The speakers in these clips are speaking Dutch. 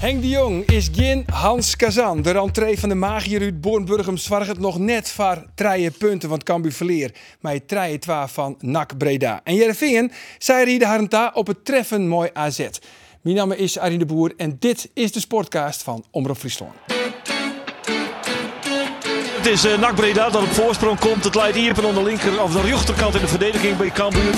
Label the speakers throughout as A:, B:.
A: Henk de Jong is geen Hans Kazan. De rentree van de magier uit Bornburgum zwarg het nog net voor treien punten van Cambuur verleer. Maar treien twa van NAC Breda. En Jereveen zei Riede Harenta op het treffen mooi AZ. Mijn naam is Arjen de Boer en dit is de Sportcast van Omroep Friesland.
B: Het is eh NAC Breda dat op voorsprong komt. Het leidt Ierpen aan de linker of de rechterkant in de verdediging bij Cambuur.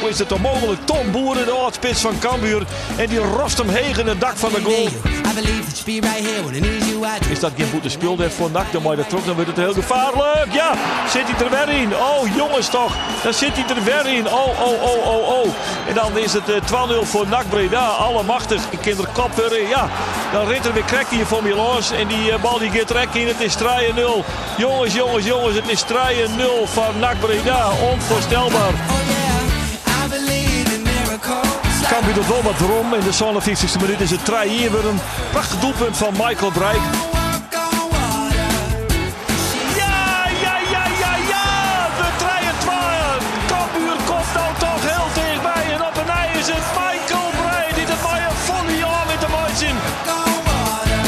B: Hoe is het dan mogelijk? Tom Boeren, de oudspits van Cambuur. En die rost hem heen in het dak van de goal.
C: I believe that you be right here with an easy way to
B: Is dat geen goede speelder voor NAC? Dan moet je dat terug, dan wordt het heel gevaarlijk. Ja, zit hij er weer in. Oh, jongens toch. Dan zit hij er weer in. Oh, oh, oh, oh, oh. En dan is het eh, 12-0 voor NAC Breda. Allemachtig. Ik ken er kop weer in. Ja, dan rent er weer krek hier voor Milans. En die eh, bal die gaat trek in. Het is 3-0. Jongens, jongens, jongens. Het is 3-0 van NAC Breda. Onvoorstelbaar.
C: Oh yeah, I believe in miracles.
B: Cambuur doet wel wat erom. In de 57e minuut is het 3-1 weer een prachtig doelpunt van Michael Breik.
C: Walk on water.
B: Ja, ja, ja, ja, ja! De 3-2. Kambuur komt nou toch heel dichtbij. En op een ei is het Michael Breij die de mooie volley aan met de mooi zien.
C: Walk on water.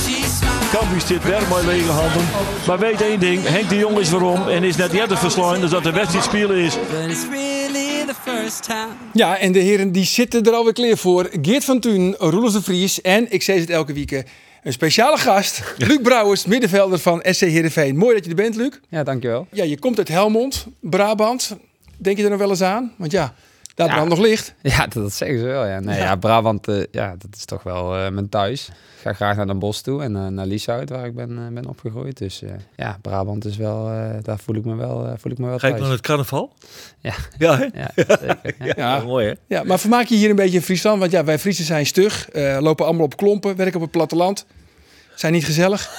C: She smiled.
B: Kambuur zit weer mooi lege handen. Maar weet één ding, Henk de Jong is waarom en is net eerder verslaan. Dus dat de wedstrijd spelen is.
C: But it's really the first time.
A: Ja, en de heren die zitten er alweer klaar voor. Geert van Tuin, Roelof de Vries en, ik zei het elke week, een speciale gast. Luc Brouwers, middenvelder van SC Heerenveen. Mooi dat je er bent, Luc.
D: Ja, dankjewel.
A: Ja, je komt uit Helmond, Brabant. Denk je er nog wel eens aan? Want ja, daar
D: Ja.
A: brand nog licht.
D: Ja, dat, dat zeggen ze wel. Ja. Nee, ja. Brabant, eh, ja, dat is toch wel eh, mijn thuis. Ik ga graag naar Den Bosch toe en eh, naar Lieshout, waar ik ben, eh, ben opgegroeid. Dus eh, ja, Brabant is wel, eh, daar voel ik me wel, eh, voel ik me wel
B: Kijk
D: thuis.
B: naar het carnaval.
D: Ja.
B: Ja, hè?
D: Ja, zeker. Ja.
A: Ja.
B: mooi hè?
A: Ja, maar vermaak je hier een beetje in Friesland? Want ja, wij Friesen zijn stug, eh, lopen allemaal op klompen, werken op het platteland. Zijn niet gezellig.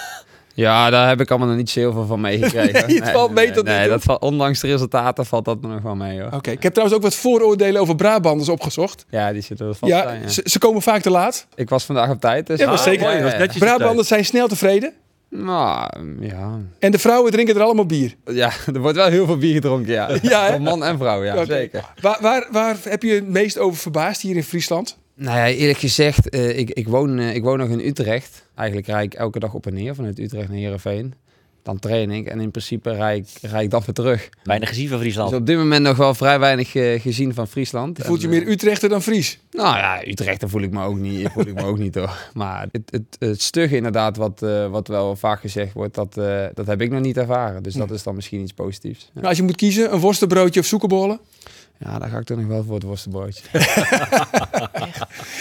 D: Ja, daar heb ik allemaal nog niet zo heel veel van meegekregen.
A: Nee, het valt mee tot nu
D: nee,
A: toe.
D: dat valt, ondanks de resultaten valt dat me nog wel mee hoor.
A: Oké, ik heb trouwens ook wat vooroordelen over Brabanders opgezocht.
D: Ja, die zitten wel vast
A: Ja,
D: aan, ja.
A: Ze, ze komen vaak te laat.
D: Ik was vandaag op tijd. Dus
A: Ja, maar zeker.
D: mooi,
A: Ah, Ja,
B: was
D: ja.
B: netjes.
A: Brabanders zijn snel tevreden.
D: Nou, ja.
A: En de vrouwen drinken er allemaal bier.
D: ja, er wordt wel heel veel bier gedronken, ja.
A: Ja, hè?
D: Van man en vrouw, ja,
A: Oké.
D: zeker.
A: Waar, waar, waar heb je het meest over verbaasd hier in Friesland?
D: Nou ja, eerlijk gezegd, eh, ik, ik, woon, eh, ik woon nog in Utrecht. Eigenlijk rijd ik elke dag op en neer vanuit Utrecht naar Heerenveen. Dan train ik en in principe rijd ik, rijd ik dan weer terug.
E: Weinig gezien van Friesland.
D: Dus op dit moment nog wel vrij weinig eh, gezien van Friesland.
A: Je voelt je
D: En, eh,
A: meer Utrechter dan Fries.
D: nou ja, Utrecht, daar voel ik me ook niet, voel ik me ook niet hoor. Maar het, het, het stug inderdaad, wat, eh, wat wel vaak gezegd wordt, dat, eh, dat heb ik nog niet ervaren. Dus dat is dan misschien iets positiefs. Ja,
A: Nou, als je moet kiezen, een worstenbroodje of zoekenbollen.
D: ja daar ga ik toch nog wel voor het worstenbroodje.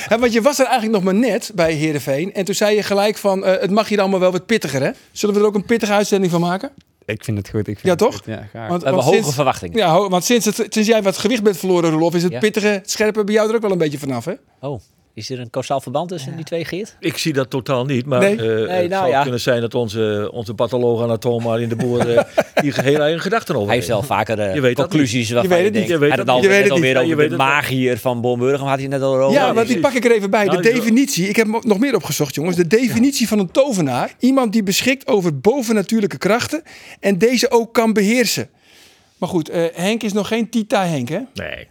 A: Hè, want je was er eigenlijk nog maar net bij Heerenveen. En toen zei je gelijk van, eh, het mag hier allemaal wel wat pittiger, hè? Zullen we er ook een pittige uitzending van maken?
D: ik vind het goed. Ik vind
A: Ja,
D: het
A: toch?
D: goed. Ja, graag.
A: Want,
E: We hebben
A: want
E: hoge
A: sinds-
E: verwachtingen.
A: Ja, ho- want sinds, het, sinds jij wat gewicht bent verloren, Rolof, is het
E: Ja.
A: pittige, het scherpe bij jou er ook wel een beetje vanaf, hè?
E: Oh, is er een kausaal verband tussen die twee, Geert?
B: Ik zie dat totaal niet, maar
A: Nee.
B: eh,
E: nou
B: het zou
E: ja.
B: kunnen zijn dat onze, onze patholoog Anatoma in de boer eh, hier geheel eigen gedachten over
E: Hij heeft wel vaker eh,
B: Je weet dat
E: conclusies waarvan
A: Je weet het
E: denkt,
B: niet, je weet
E: hij
B: het
E: had
B: niet.
E: het al-
A: Je weet
E: net
A: het
E: alweer
B: niet. Ja, je
E: over
B: weet
E: de
B: het
E: magier van Bomburg, had hij net al over.
A: ja,
B: Oh, ja,
A: want die pak
B: precies.
A: ik er even bij.
B: Nou,
A: de
B: ik wil-
A: definitie, ik heb hem ook nog meer opgezocht, jongens. De definitie van een tovenaar. Iemand die beschikt over bovennatuurlijke krachten en deze ook kan beheersen. Maar goed, eh, Henk is nog geen Tita Henk, hè?
B: Nee.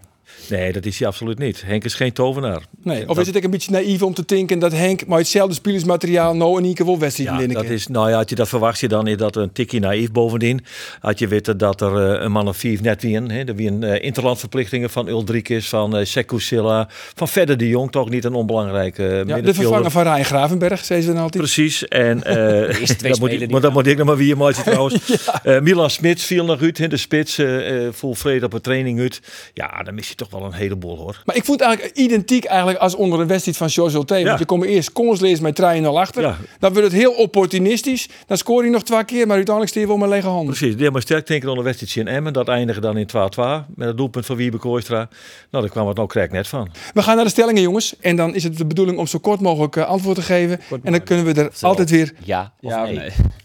B: Nee, dat is hij absoluut niet. Henk is geen tovenaar.
A: Nee, of
B: Dat-
A: is het ook een beetje naïef om te denken dat Henk maar hetzelfde spielersmateriaal nou en één keer wel wedstrijd
B: Ja,
A: winnen
B: dat
A: kan?
B: is, nou ja, had je dat verwacht je dan is dat een tikje naïef bovendien. Had je weten dat er eh, een man of vier net wien, hè, er wien eh, interlandverplichtingen van Uldrikis, van eh Sekusilla, van Verder de Jong, toch niet een onbelangrijke eh,
A: Ja, de
B: middenvelder.
A: vervanger van Ryan Gravenberg, zei ze dan altijd.
B: Precies. En eh
E: Eerste twee
B: dat moet,
E: spelen
B: ik-
E: die
B: maar dat moet ik nog maar weer mooi trouwens. Eh, Milan Smits viel nog uit in de spits. eh eh, vol vrede op een training uit. Ja, dan mis je toch wel een heleboel hoor.
A: Maar ik voel het eigenlijk identiek eigenlijk als onder een wedstrijd van George T.
B: Ja.
A: Want je komt eerst kansleers met 3-0 achter.
B: Ja.
A: Dan wordt het heel opportunistisch. Dan scoor je nog twee keer, maar uiteindelijk steer je wel met lege handen.
B: Precies. Die maar sterk denken dan een wedstrijdje in Emmen. Dat eindigen dan in 12-12 met het doelpunt van Wiebe Kooistra. Nou, daar kwam het nou krijg net van.
A: We gaan naar de stellingen, jongens. En dan is het de bedoeling om zo kort mogelijk eh, antwoord te geven. En dan kunnen we er altijd weer,
E: Ja of
D: Ja,
E: nee?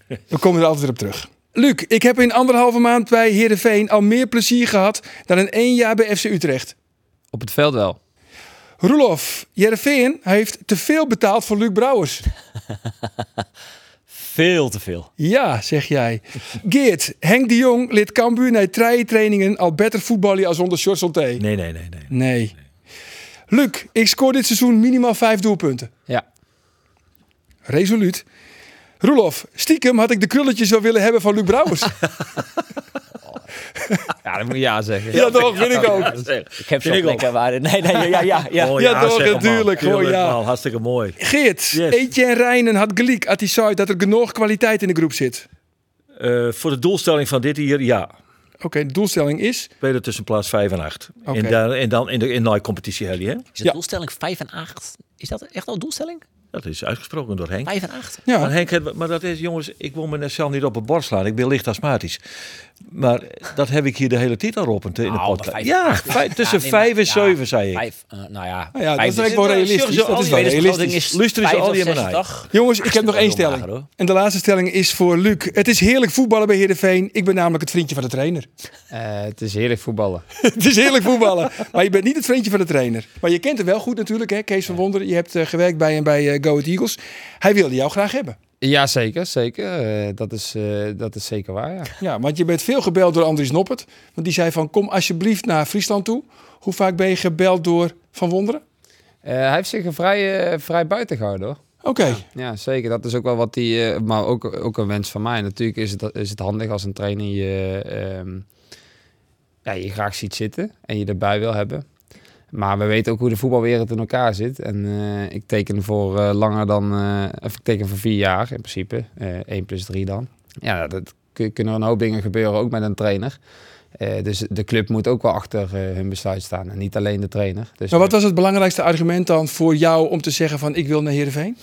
D: nee.
A: we komen er altijd weer op terug. Luc, ik heb in anderhalve maand bij Heerenveen al meer plezier gehad dan in één jaar bij FC Utrecht.
D: Op het veld wel.
A: Roelof, Heerenveen heeft te veel betaald voor Luc Brouwers.
E: Veel te veel.
A: Ja, zeg jij. Geert, Henk de Jong lid Cambuur naar trainingen al beter voetballen als onder Short Santé. Nee.
B: Nee, nee, nee. nee.
A: Luc, ik scoor dit seizoen minimaal vijf doelpunten.
D: Ja.
A: Resoluut. Roelof, stiekem had ik de krulletjes wel willen hebben van Luc Brouwers.
D: Ja, dat moet je ja zeggen.
A: ja, toch, vind ik ook.
E: Ik heb zo'n plekken waarin... Nee, nee, ja, ja, ja. ja.
B: Oh,
A: Ja, toch,
B: zeg maar.
A: natuurlijk, gewoon,
B: Tuurlijk,
A: ja.
B: man, Nou, hartstikke mooi.
A: Geert,
B: Yes.
A: Etienne Rijnen had gelijk uit die site dat er genoeg kwaliteit in de groep zit.
B: Eh, voor de doelstelling van dit hier, ja.
A: Oké, de doelstelling is...
B: Spelen tussen plaats 5 en 8.
A: Oké.
B: En, dan, en dan in de in de competitie, Helly, hè?
E: Is de
A: Ja.
E: doelstelling 5 en 8? Is dat echt al een doelstelling?
B: Dat is uitgesproken door Henk.
E: 5 en 8?
B: Maar
A: Ah Ja,
B: Henk, het- maar dat is, jongens, ik wil me net zelf niet op het bord slaan. Ik ben licht astmatisch. Maar dat heb ik hier de hele titel op in de in de
E: Nou,
B: podcast.
E: vijf-
B: ja, vij- tussen
E: nee, maar-
B: 5 en
E: ja,
B: 7, zei ik.
E: Vijf, eh, nou ja,
A: Nou ja, dat
E: vijf
A: is eigenlijk wel realistisch.
B: Ja,
A: Dat is wel
B: tweede
A: realistisch.
B: is- luisteren ze al die maar naar.
A: Jongens, ik heb nog één
E: wel
A: stelling.
E: lager, hoor.
A: en de laatste stelling is voor Luc. Het is heerlijk voetballen bij Heerenveen. Ik ben namelijk het vriendje van de trainer.
D: Eh, het is heerlijk voetballen.
A: het is heerlijk voetballen. Maar je bent niet het vriendje van de trainer. Maar je kent hem wel goed natuurlijk, hè? Kees van Wonderen. Je hebt eh, gewerkt bij hem bij eh, Go Ahead Eagles. Hij wilde jou graag hebben.
D: Ja, zeker. zeker. Eh, dat, is, eh, dat is zeker waar, ja.
A: Ja, want je bent veel gebeld door Andries Noppert. Want die zei van, kom alsjeblieft naar Friesland toe. Hoe vaak ben je gebeld door Van Wonderen?
D: Eh, hij heeft zich er vrij, eh, vrij buiten gehouden, hoor.
A: Oké.
D: Ja, zeker. Dat is ook wel wat die, eh, maar ook, ook een wens van mij. Natuurlijk is het, is het handig als een trainer je, ehm, ja, je graag ziet zitten en je erbij wil hebben. Maar we weten ook hoe de voetbalwereld in elkaar zit. En eh, ik teken voor eh, langer dan, eh, of ik teken voor vier jaar in principe. eh 1 plus 3 dan. Ja, dat kun- kunnen een hoop dingen gebeuren, ook met een trainer. Eh, dus de club moet ook wel achter eh, hun besluit staan en niet alleen de trainer. Dus
A: Maar wat was het belangrijkste argument dan voor jou om te zeggen van, ik wil naar Heerenveen?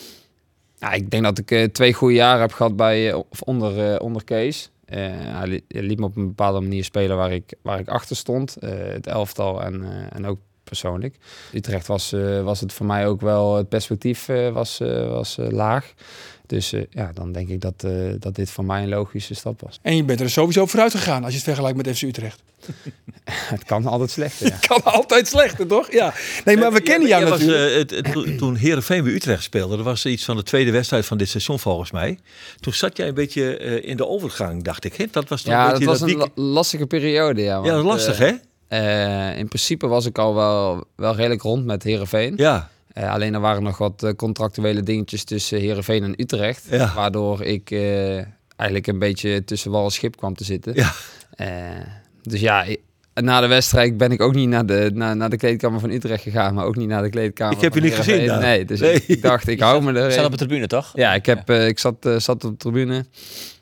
D: Ja, ik denk dat ik eh, twee goede jaren heb gehad bij, eh, of onder, eh, onder Kees. Eh, hij, li- hij liet me op een bepaalde manier spelen waar ik, waar ik achter stond. eh, het elftal en, eh, en ook persoonlijk. Utrecht was, eh, was het voor mij ook wel, het perspectief eh, was, eh, was eh, laag. Dus eh, ja, dan denk ik dat, eh, dat dit voor mij een logische stap was.
A: En je bent er sowieso vooruit gegaan als je het vergelijkt met FC Utrecht.
D: het kan altijd slechter, ja.
A: Kan altijd slechter, toch? Ja. Nee, maar we kennen jou
B: Jij was,
A: natuurlijk.
B: eh, het- het- toen- toen Herenveen bij Utrecht speelde, dat was iets van de tweede wedstrijd van dit seizoen volgens mij. Toen zat jij een beetje eh, in de overgang, dacht ik. Hè? Dat was toen
D: Ja,
B: een
D: dat
B: beetje
D: was een
B: week-
D: la- lastige periode, ja.
B: Ja, dat
D: want,
B: was lastig,
D: eh,
B: hè?
D: eh, in principe was ik al wel, wel redelijk rond met Herenveen.
B: Ja,
D: Eh, alleen er waren nog wat eh, contractuele dingetjes tussen Herenveen en Utrecht.
B: Ja.
D: Waardoor ik eh, eigenlijk een beetje tussen wal en schip kwam te zitten.
B: Ja.
D: Eh, dus ja, i- na de wedstrijd ben ik ook niet naar de, naar, naar de kleedkamer van Utrecht gegaan. Maar ook niet naar de kleedkamer.
B: Ik heb
D: van
B: je niet gezien
D: Heerenveen.
B: daar.
D: Nee, dus
B: Nee.
D: Ik, ik dacht, ik hou me er.
E: Staat op de tribune, toch?
D: Ja, ik, heb, eh, ik zat, eh, zat op de tribune.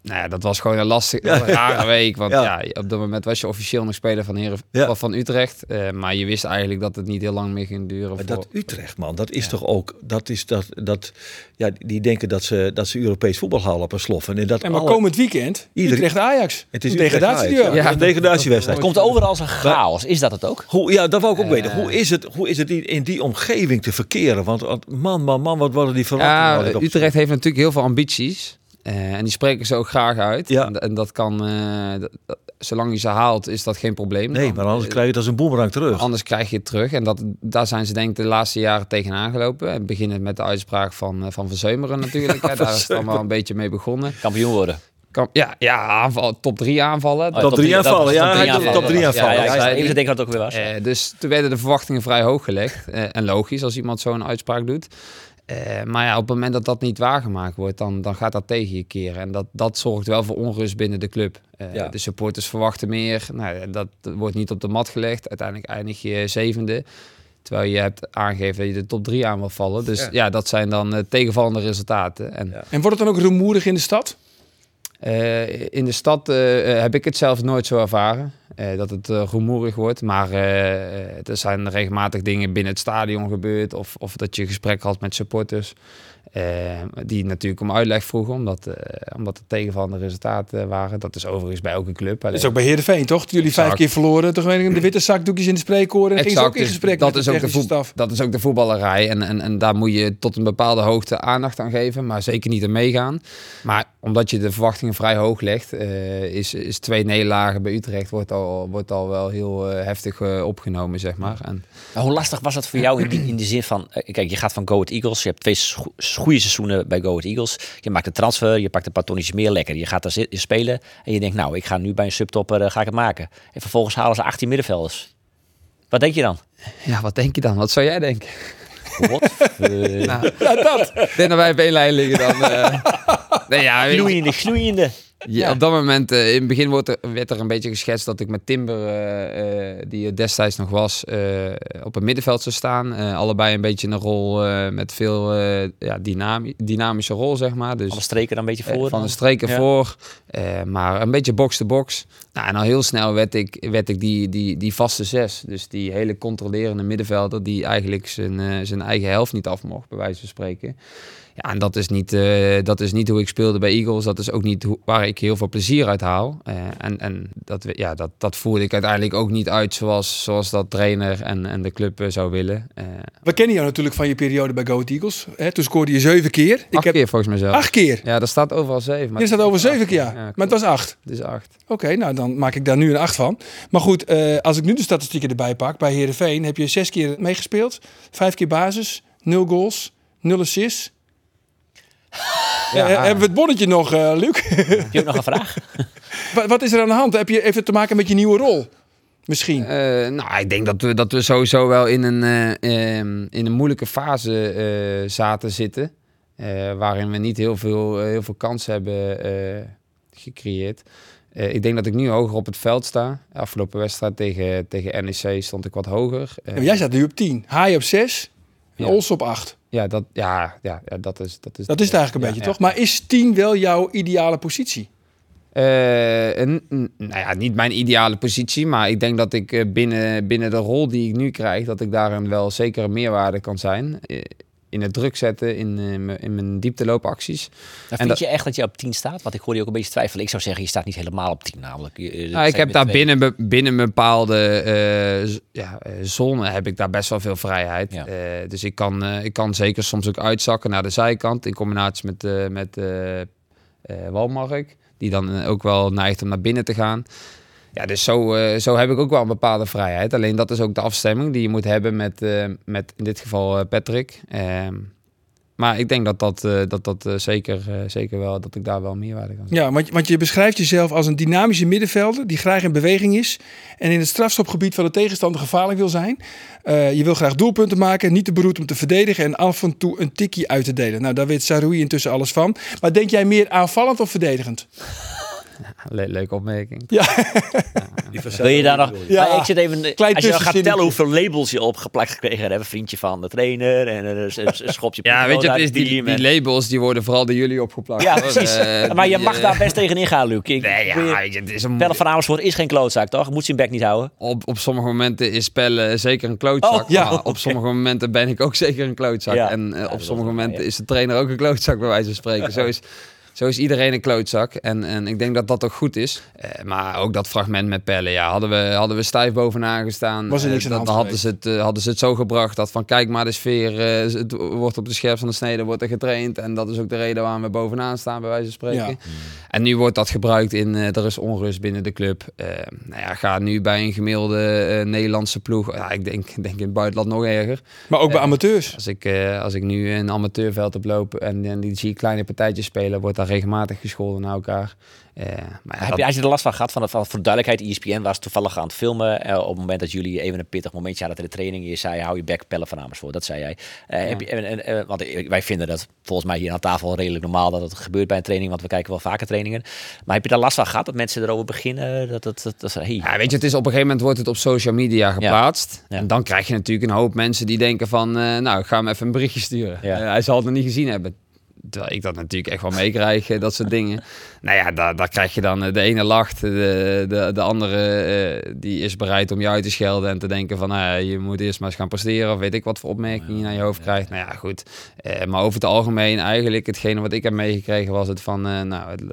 D: Nou ja, dat was gewoon een lastige, een rare week. Want
B: Ja.
D: ja. op dat moment was je officieel nog speler van, Heeren,
B: Ja.
D: van Utrecht. Eh, maar je wist eigenlijk dat het niet heel lang meer ging duren.
B: maar
D: voor-
B: dat Utrecht, man, dat is toch ook... Dat is dat, dat, ja, die denken dat ze, dat ze Europees voetbal halen op een sloffen. En dat
A: En maar
B: eh, alle-
A: komend weekend,
B: Ieder-
A: Utrecht-Ajax.
B: Het is
A: Een
B: Utrecht
A: degradatieduel.
B: Ajax, Ja,
D: Ja,
B: een
D: dat-
B: degradatiewedstrijd.
E: Het komt over als een chaos. Is dat het ook?
B: Hoe, ja, dat wou ik ook weten. Hoe is het, hoe is het in- in die omgeving te verkeren? Want want man, man, man, wat worden die verwachtingen?
D: Ja, eh,
B: altijd op-
D: Utrecht heeft natuurlijk heel veel ambities. Eh, en die spreken ze ook graag uit.
B: Ja.
D: En, en dat kan, eh, dat- dat- zolang je ze haalt, is dat geen probleem.
B: Nee,
D: Dan-
B: maar anders krijg je het als een boemerang terug.
D: Anders krijg je het terug. En dat, daar zijn ze denk ik de laatste jaren tegenaan gelopen. En beginnend met de uitspraak van eh, Van Verzeumeren natuurlijk. hè. daar is het allemaal een beetje mee begonnen.
E: Kampioen worden.
D: Kan, ja, ja aanval, top drie aanvallen.
E: Oh,
B: Top drie
E: dat was
B: aanvallen, ja,
D: hij doet top drie
E: dat was-
D: aanvallen.
E: Ja, ja,
D: Hij
E: ja,
D: zei
E: even
D: niet-
E: denken dat het ook weer was.
D: Eh, dus toen werden de verwachtingen vrij hoog gelegd. Eh, en logisch als iemand zo'n uitspraak doet. Eh, maar ja, op het moment dat dat niet waargemaakt wordt, dan, dan gaat dat tegen je keren. En dat, dat zorgt wel voor onrust binnen de club. Eh,
B: Ja.
D: De supporters verwachten meer. Nou, dat wordt niet op de mat gelegd. Uiteindelijk eindig je zevende. Terwijl je hebt aangegeven dat je de top drie aan wil vallen. Dus ja, dat zijn dan eh, tegenvallende resultaten. En
B: Ja.
A: En wordt het dan ook rumoerig in de stad?
D: eh, in de stad eh, eh, heb ik het zelf nooit zo ervaren. eh, dat het eh, rumoerig wordt. Maar eh, eh, er zijn regelmatig dingen binnen het stadion gebeurd. Of, of dat je gesprek had met supporters. eh, die natuurlijk om uitleg vroegen. Omdat, eh omdat er tegenvallende resultaten waren. Dat is overigens bij elke club.
A: Dat
D: Alleen-
A: is ook bij Heerenveen, toch? Toen jullie vijf
D: Exact.
A: keer verloren. Toen gingen de witte zakdoekjes in de spreekkoren. En gingen ze ook in
D: dus
A: gesprek
D: dat
A: met
D: is
A: de
D: ook de
A: technische
D: voet-
A: staf.
D: Dat is ook de voetballerij. En, en, en daar moet je tot een bepaalde hoogte aandacht aan geven. Maar zeker niet aan meegaan. Maar omdat je de verwachtingen vrij hoog legt, eh, is, is twee nederlagen bij Utrecht wordt al, wordt al wel heel eh, heftig eh, opgenomen, zeg maar. En
E: Maar hoe lastig was dat voor jou in, die, in de zin van... eh, Kijk, je gaat van Go Ahead Eagles. Je hebt twee scho- goede seizoenen bij Go Ahead Eagles. Je maakt de transfer. Je pakt een paar tonnetjes meer lekker. Je gaat daar zit- in spelen. En je denkt, nou, ik ga nu bij een subtopper eh, ga ik het maken. En vervolgens halen ze 18 middenvelders. Wat denk je dan?
D: ja, wat denk je dan? Wat zou jij denken?
E: Wat?
D: Nou, dat. Ik denk dat wij op één lijn liggen dan. eh. nee, ja, weet je-
E: Gloeiende, gloeiende.
D: Ja, op dat moment, eh, in het begin wordt er, werd er een beetje geschetst dat ik met Timber, eh, eh, die er destijds nog was, eh, op het middenveld zou staan. Eh, allebei een beetje een rol eh, met veel eh, ja, dynami- dynamische rol, zeg maar. Dus
E: Alle streken dan een beetje voor.
D: eh, van de
E: dan.
D: streken
E: Ja.
D: voor, eh, maar een beetje box-to-box. Nou, en al heel snel werd ik, werd ik die, die, die vaste zes. Dus die hele controlerende middenvelder die eigenlijk zijn, eh, zijn eigen helft niet af mocht, bij wijze van spreken. Ja, en dat is, niet, eh, dat is niet hoe ik speelde bij Eagles. Dat is ook niet hoe, waar ik heel veel plezier uit haal. Eh, en en dat, we- ja, dat, dat voerde ik uiteindelijk ook niet uit zoals, zoals dat trainer en, en de club eh, zou willen. Eh
A: We kennen jou natuurlijk van je periode bij Go Ahead Eagles. Hè? Toen scoorde je zeven keer.
D: acht keer volgens mij zelf.
A: acht keer.
D: Ja, daar staat overal zeven. Maar
A: Dit staat over zeven
D: acht,
A: keer, ja.
D: ja,
A: maar het
D: klopt.
A: was acht.
D: Het is acht.
A: Oké, nou dan maak ik daar nu een 8 van. Maar goed, eh, als ik nu de statistieken erbij pak, bij Herenveen heb je zes keer meegespeeld, vijf keer basis, nul goals, nul assists. Eh, eh, hebben we het bonnetje nog, eh Luc?
E: Heb je ook nog een vraag?
A: Wa- wat is er aan de hand? Heb je even te maken met je nieuwe rol? Misschien.
D: Eh, nou, ik denk dat we, dat we sowieso wel in een, eh, ehm, in een moeilijke fase eh, zaten zitten. Eh, waarin we niet heel veel, eh, heel veel kansen hebben eh, gecreëerd. Eh, ik denk dat ik nu hoger op het veld sta. Afgelopen wedstrijd tegen, tegen NEC stond ik wat hoger. Eh,
A: Ja, maar Oh, jij staat nu op 10, Haai op 6 en
D: Ja.
A: Ols op 8.
D: ja, dat, ja, ja, ja, dat is... Dat is,
A: Dat is het eigenlijk een
D: Ja,
A: beetje,
D: ja.
A: toch? Maar is 10 wel jouw ideale positie?
D: Eh, een- n- nou ja, niet mijn ideale positie, maar ik denk dat ik eh, binnen, binnen de rol die ik nu krijg, dat ik daarin wel zeker een meerwaarde kan zijn. Eh, In het druk zetten, in, eh, mijn- in mijn diepteloopacties.
E: Dan
D: En
E: vind
D: dat-
E: je echt dat je op 10 staat? Want ik hoorde je ook een beetje twijfelen. Ik zou zeggen, je staat niet helemaal op 10 namelijk. Je- eh, dat
D: Nou, ik
E: zijn
D: heb
E: weer
D: daar
E: twee.
D: binnen, be- binnen een bepaalde eh, z- ja, eh, zone heb ik daar best wel veel vrijheid.
E: Ja.
D: Eh, dus ik kan, eh, ik kan zeker soms ook uitzakken naar de zijkant in combinatie met, eh, met eh, eh, Walmark. Die dan eh, ook wel neigt om naar binnen te gaan. Ja, dus zo, eh, zo heb ik ook wel een bepaalde vrijheid. Alleen dat is ook de afstemming die je moet hebben met, eh, met in dit geval eh, Patrick. Ehm, maar ik denk dat dat, eh, dat, dat eh, zeker, eh, zeker wel, dat ik daar wel meerwaarde kan
A: Ja, want, want je beschrijft jezelf als een dynamische middenvelder die graag in beweging is en in het strafschopgebied van de tegenstander gevaarlijk wil zijn. Eh, je wil graag doelpunten maken, niet te beroerd om te verdedigen en af en toe een tikkie uit te delen. Nou, daar weet Saroui intussen alles van. Maar denk jij meer aanvallend of verdedigend?
D: Le- leuke opmerking.
E: Wil je daar nog...
A: Ja.
E: Maar ik zit even...
A: Klein
E: als je dan gaat
A: tussenzinnetje.
E: tellen hoeveel labels je opgeplakt gekregen hebt. Een vriendje van de trainer en een, een, een schopje
D: Ja, weet je,
E: Pokémon
D: het is
E: uit het
D: die,
E: team
D: die
E: en-
D: labels die worden vooral door jullie opgeplakt.
E: Ja,
D: hoor.
E: precies.
D: Eh,
E: maar je
D: die,
E: mag
D: eh,
E: daar best tegenin gaan, Luc. Ik
D: Nee, ja,
E: probeer-
D: weet je, het is een,
E: Pelle van Amersfoort is geen klootzaak, toch? Moet zijn bek niet houden.
D: op, op sommige momenten is spellen zeker een klootzak.
E: Oh, ja,
D: maar op
E: oké.
D: sommige momenten ben ik ook zeker een klootzak.
E: Ja.
D: En eh,
E: Ja, dat
D: op
E: is
D: sommige
E: wel waar,
D: momenten
E: ja.
D: is de trainer ook een klootzak, bij wijze van spreken. Zo is, zo is iedereen een klootzak. En, en ik denk dat dat ook goed is. Eh, maar ook dat fragment met pellen, ja, hadden we, hadden we stijf bovenaan gestaan.
A: Was er
D: eh,
A: niks aan de
D: dat-
A: hand
D: hadden, ze het, eh, hadden ze het zo gebracht dat van kijk maar de sfeer, eh, het wordt op de scherp van de snede wordt er getraind. En dat is ook de reden waarom we bovenaan staan, bij wijze van spreken.
A: Ja.
D: En nu wordt dat gebruikt in, eh, er is onrust binnen de club. Eh, nou ja, ga nu bij een gemiddelde eh, Nederlandse ploeg, ja, ik denk, ik denk in het buitenland nog erger.
A: Maar ook bij amateurs.
D: Als ik, eh, als ik nu een amateurveld oploop en, en die zie ik kleine partijtjes spelen, wordt daar regelmatig gescholden naar elkaar. Eh, maar ja,
E: Heb
D: dat-
E: je, had je er last van gehad? Van, de- van, voor de duidelijkheid, E ESPN was toevallig aan het filmen. eh, op het moment dat jullie even een pittig momentje hadden in de training. Je zei, hou je bek, pellen van Amersfoort. Dat zei jij. Eh, heb je, en, en, eh, want ik- wij vinden dat volgens mij hier aan tafel redelijk normaal dat het gebeurt bij een training. Want we kijken wel vaker trainingen. Maar heb je daar last van gehad? Dat mensen erover beginnen? Dat, dat, dat, dat, hey.
D: Ja, weet je, het is op een gegeven moment wordt het op social media geplaatst.
E: Ja.
D: En dan krijg je natuurlijk een hoop mensen die denken van, eh, nou, ik ga hem even een berichtje sturen.
E: Ja.
D: Eh, hij zal het nog niet gezien hebben. Terwijl ik dat natuurlijk echt wel meekrijg, eh, dat soort dingen. Nou ja, daar, daar krijg je dan eh, de ene lacht, de, de, de andere eh, die is bereid om je uit te schelden en te denken van, nou ja, je moet eerst maar eens gaan presteren of weet ik wat voor opmerkingen je naar je hoofd krijgt. Nou ja, goed. Eh, maar over het algemeen eigenlijk hetgene wat ik heb meegekregen was het van, eh, nou, het-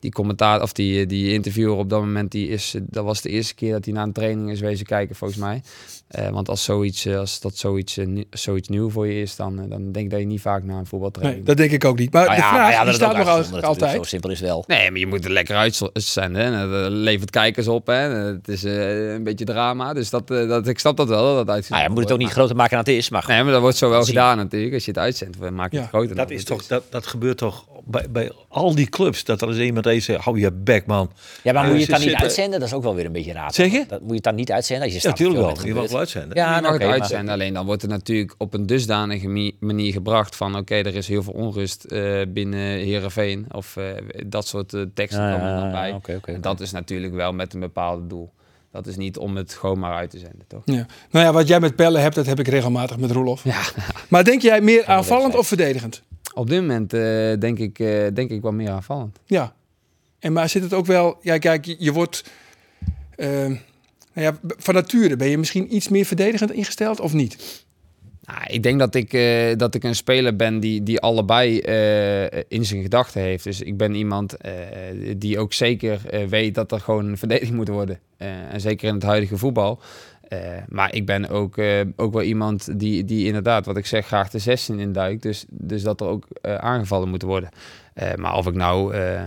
D: die commentaar of die, eh, die interviewer op dat moment, die is, eh, dat was de eerste keer dat hij naar een training is wezen kijken, volgens mij. Eh, want als, zoiets, eh, als dat zoiets, eh, nie- zoiets nieuw voor je is, dan, eh, dan denk ik dat je niet vaak naar een voetbaltraining
A: Nee, dat denk ik ook niet. Maar
E: Nou
A: de
E: ja,
A: vraag
E: wij
A: die
E: hadden het ook
A: staat nog al-
E: uitgezonden natuurlijk,
A: altijd.
E: dus Zo simpel is het wel.
D: Nee, maar je moet er lekker uitzenden. En dat eh, levert kijkers op. Hè. Het is eh, een beetje drama. Dus dat, eh, dat, ik snap dat wel. Dat dat
E: Nou
D: uitgezonden
E: ja, we moeten het ook niet
D: wordt.
E: groter maken dan het is, maar goed.
D: Nee, maar dat wordt zo wel
E: Zien.
D: gedaan natuurlijk. Als je het uitzendt, we maken
A: Ja,
D: het groter.
B: Dat,
D: dan
B: is
D: het
B: toch, dat, dat gebeurt toch bij, bij al die clubs. Dat er eens iemand eens zegt, hou je bek man.
E: Ja, maar moet je
B: ze
E: het dan niet
B: zitten-
E: uitzenden? Dat is ook wel weer een beetje raar.
B: Zeg je?
E: Dat moet je het dan niet uitzenden als je
B: Ja,
E: snapt
B: natuurlijk
E: wat
B: wel.
E: er
B: Je mag
E: gebeurt.
B: wel uitzenden.
E: Ja,
D: Je
E: nou,
D: mag
E: oké,
D: het
E: maar-
D: uitzenden, alleen dan wordt het natuurlijk op een dusdanige mie- manier gebracht van oké, er is heel veel onrust eh, binnen Herenveen of eh, dat soort eh, teksten
E: Ja, ja,
D: komen er dan
E: ja,
D: bij.
E: ja, oké, oké,
D: En
E: oké.
D: dat is natuurlijk wel met een bepaald doel. Dat is niet om het gewoon maar uit te zenden, toch?
A: Ja. Nou ja, wat jij met pellen hebt, dat heb ik regelmatig met Roelof. Maar denk jij meer aanvallend of verdedigend?
D: Op dit moment eh, denk, ik, eh, denk ik wel meer aanvallend.
A: Ja. En maar zit het ook wel... Ja, kijk, je, je wordt... eh, nou ja, b- van nature ben je misschien iets meer verdedigend ingesteld of niet?
D: Nou, ik denk dat ik, eh, dat ik een speler ben die, die allebei eh, in zijn gedachten heeft. Dus ik ben iemand eh, die ook zeker eh, weet dat er gewoon een verdediging moet worden. Eh, en zeker in het huidige voetbal. Eh, maar ik ben ook, eh, ook wel iemand die, die inderdaad, wat ik zeg, graag de 16 induikt. Dus, dus dat er ook eh, aangevallen moet worden. Eh, maar of ik nou, eh,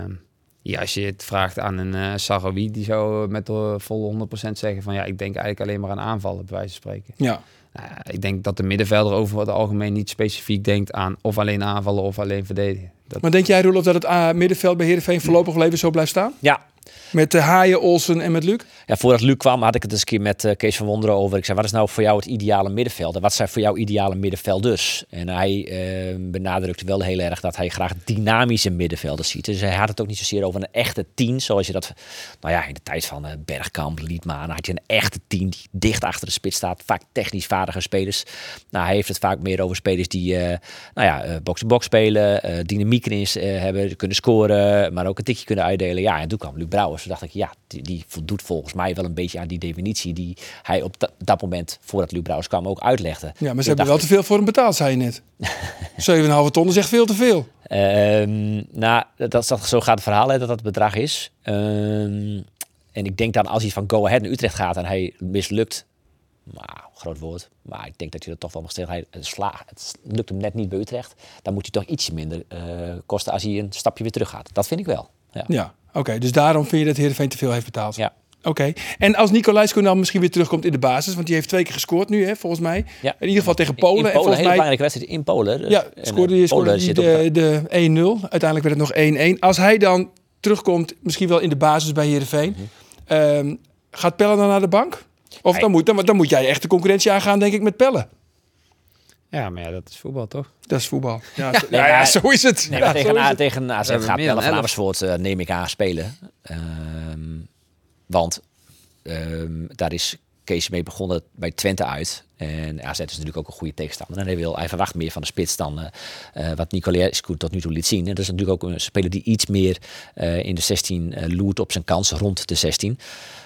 D: ja, als je het vraagt aan een eh Sarraoui, die zou met eh, vol 100% zeggen van ja, ik denk eigenlijk alleen maar aan aanvallen, bij wijze van spreken.
A: Ja.
D: Nou ja, ik denk dat de middenvelder over het algemeen niet specifiek denkt aan of alleen aanvallen of alleen verdedigen. Dat,
A: Maar denk jij, Roelof, dat het ah, middenveld bij Heerenveen voorlopig wel even zo blijft staan?
E: Ja.
A: Met de Haaien, Olsen en met Luc?
E: ja, voordat Luc kwam had ik het eens een keer met eh, Kees van Wonderen over. Ik zei, wat is nou voor jou het ideale middenveld? En wat zijn voor jou ideale middenvelders? En hij eh, benadrukte wel heel erg dat hij graag dynamische middenvelders ziet. Dus hij had het ook niet zozeer over een echte tien, zoals je dat... Nou ja, in de tijd van eh, Bergkamp, Liedmanen had je een echte tien die dicht achter de spits staat. Vaak technisch vaardige spelers. Nou, hij heeft het vaak meer over spelers die, eh, nou ja, eh, box-to-box spelen, eh dynamiek erin eh, hebben, kunnen scoren, maar ook een tikje kunnen uitdelen. Ja, en toen kwam Luc Brouwers. Toen dacht ik, ja, die, die voldoet volgens mij wel een beetje aan die definitie die hij op da- dat moment, voordat Luc Brouwers kwam, ook uitlegde.
A: Ja, maar ze
E: Toen
A: hebben wel
E: dacht
A: te veel voor hem betaald, zei je net. 7,5 ton is echt veel te veel.
E: ik, ehm, nou, dat, dat, zo gaat het verhaal, hè, dat dat het bedrag is. Ehm, en ik denk dan, als hij van Go Ahead naar Utrecht gaat en hij mislukt, nou, groot woord, maar ik denk dat hij dat toch wel mag stellen. Hij het sla, het s- lukt hem net niet bij Utrecht. Dan moet hij toch ietsje minder eh, kosten als hij een stapje weer terug gaat. Dat vind ik wel. Ja.
A: Ja, oké. dus daarom vind je dat Heerenveen te veel heeft betaald?
E: Ja.
A: Oké. En als Nicolaisko dan misschien weer terugkomt in de basis, want die heeft twee keer gescoord nu, hè, volgens mij.
E: Ja.
A: In ieder geval tegen Polen. en
E: In Polen, een
A: volgens
E: hele
A: mij,
E: belangrijke wedstrijd in Polen. Dus-
A: Ja,
E: en, eh,
A: scoorde die, scoorde
E: Polen
A: die
E: zit op elkaar.
A: de, de 1-0. Uiteindelijk werd het nog 1-1. Als hij dan terugkomt, misschien wel in de basis bij Heerenveen,
E: Mhm.
A: ehm, gaat Pelle dan naar de bank? Of dan
E: Nee.
A: moet, dan, dan moet jij echt de concurrentie aangaan, denk ik, met Pelle.
D: ja, maar ja, dat is voetbal toch?
A: Dat is voetbal. Ja, zo,
E: Nee,
A: ja, ja,
E: maar-
A: zo is het.
E: Nee,
A: Ja,
E: maar
A: zo
E: tegen,
A: is
E: A-
A: het.
E: tegen AZ
D: hebben
E: gaat
D: meer dan
E: Pelle van
D: elf.
E: Amersfoort, eh, neem ik aan, spelen. Ehm, want ehm, daar is Kees mee begonnen bij Twente uit. En AZ is natuurlijk ook een goede tegenstander. En hij, wil, hij verwacht meer van de spits dan eh, eh, wat Nicolescu tot nu toe liet zien. En dat is natuurlijk ook een speler die iets meer eh, in de 16 eh, loert op zijn kans rond de 16.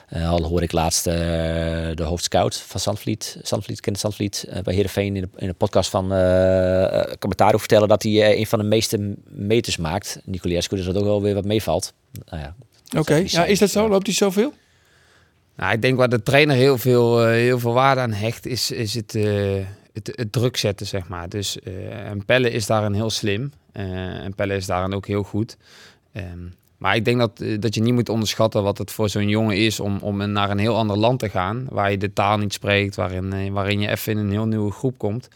E: Eh, al hoor ik laatst eh, de hoofdscout van Zandvliet, Zandvliet kent Zandvliet, eh, bij Heerenveen in de, in de podcast van eh eh, Commentaar over vertellen dat hij eh, een van de meeste meters maakt. Nicolescu, dus dat ook wel weer wat meevalt. Nou ja,
A: Oké, ja, is dat zo? Loopt hij zoveel?
D: Nou, ik denk waar de trainer heel veel, eh, heel veel waarde aan hecht, is, is het, eh, het, het druk zetten, zeg maar. Dus, eh, en Pelle is daarin heel slim. eh, en Pelle is daarin ook heel goed. Ehm, maar ik denk dat, eh, dat je niet moet onderschatten wat het voor zo'n jongen is om, om een- naar een heel ander land te gaan. Waar je de taal niet spreekt, waarin, eh, waarin je even in een heel nieuwe groep komt.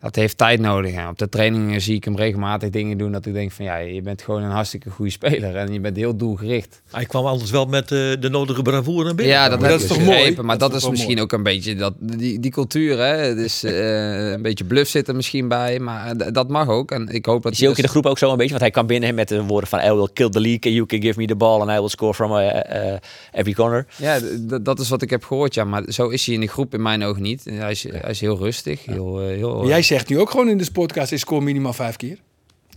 D: Dat heeft tijd nodig. En op de trainingen zie ik hem regelmatig dingen doen dat ik denk van ja, je bent gewoon een hartstikke goede speler. En je bent heel doelgericht.
B: Hij kwam anders wel met eh, de nodige bravoure naar binnen.
D: Ja, dat,
A: Maar
D: heb
A: dat is
D: ik
A: toch
D: begrepen,
A: mooi?
D: Maar
A: Dat
D: dat,
A: is
D: is
A: toch wel
D: misschien ook een beetje dat, die, die cultuur. Hè? Het is eh, een beetje bluff zit er misschien bij. Maar eh, d- dat mag ook. En ik hoop dat dus
E: Is hij ook in
D: dat-
E: de groep ook zo een beetje? Want hij kwam binnen met de woorden van I will kill the league and you can give me the ball and I will score from eh, eh, every corner.
D: Ja, d- d- dat is wat ik heb gehoord. Ja, maar zo is hij in de groep in mijn ogen niet. Hij is, hij is heel rustig. Heel, eh, heel,
A: Jij zegt nu ook gewoon in de podcast, ik scoor minimaal vijf keer.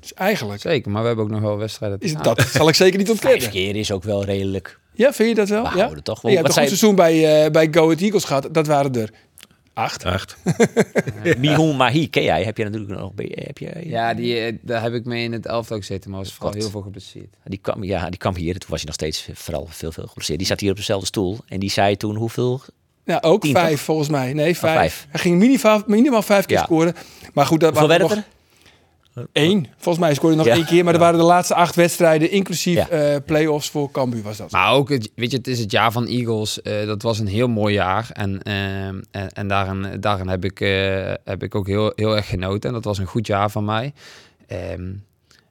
A: Dus eigenlijk
D: Zeker, maar we hebben ook nog wel wedstrijden. te
A: is
D: gaan.
A: dat, zal ik zeker niet
E: Vijf
A: ontkennen.
E: keer is ook wel redelijk.
A: Ja, vind je dat wel?
E: We
A: ja?
E: houden toch wel-
A: Je hebt
E: wat
A: toch een seizoen bij, eh, bij Go Ahead Eagles gehad, dat waren er acht.
B: Echt.
E: Mihun Mahi, ken jij? Heb je natuurlijk nog... Heb je,
D: Ja, die, eh, daar heb ik mee in het elftal gezeten. Maar was vooral heel veel geblesseerd.
E: Die kwam, ja, die kwam hier. Toen was hij nog steeds vooral veel, veel geblesseerd. Die zat hier op dezelfde stoel. En die zei toen hoeveel...
A: Ja, ook
E: Tien,
A: vijf
E: toch? Oh,
A: volgens mij. Nee, vijf.
E: vijf.
A: Hij ging minimaal, minimaal vijf keer
E: Ja.
A: scoren. Maar goed, dat
E: Hoeveel
A: waren
E: werd het
A: nog-
E: er?
A: Eén. Volgens mij scoorde hij nog
E: Ja.
A: één keer. Maar er waren de laatste acht wedstrijden, inclusief
E: Ja.
A: eh play-offs voor Cambuur was dat.
D: Maar ook, het, weet je, het is het jaar van Eagles. Eh, dat was een heel mooi jaar. En, ehm, en, en daarin, daarin heb, ik, eh, heb ik ook heel, heel erg genoten. En dat was een goed jaar van mij. Ehm,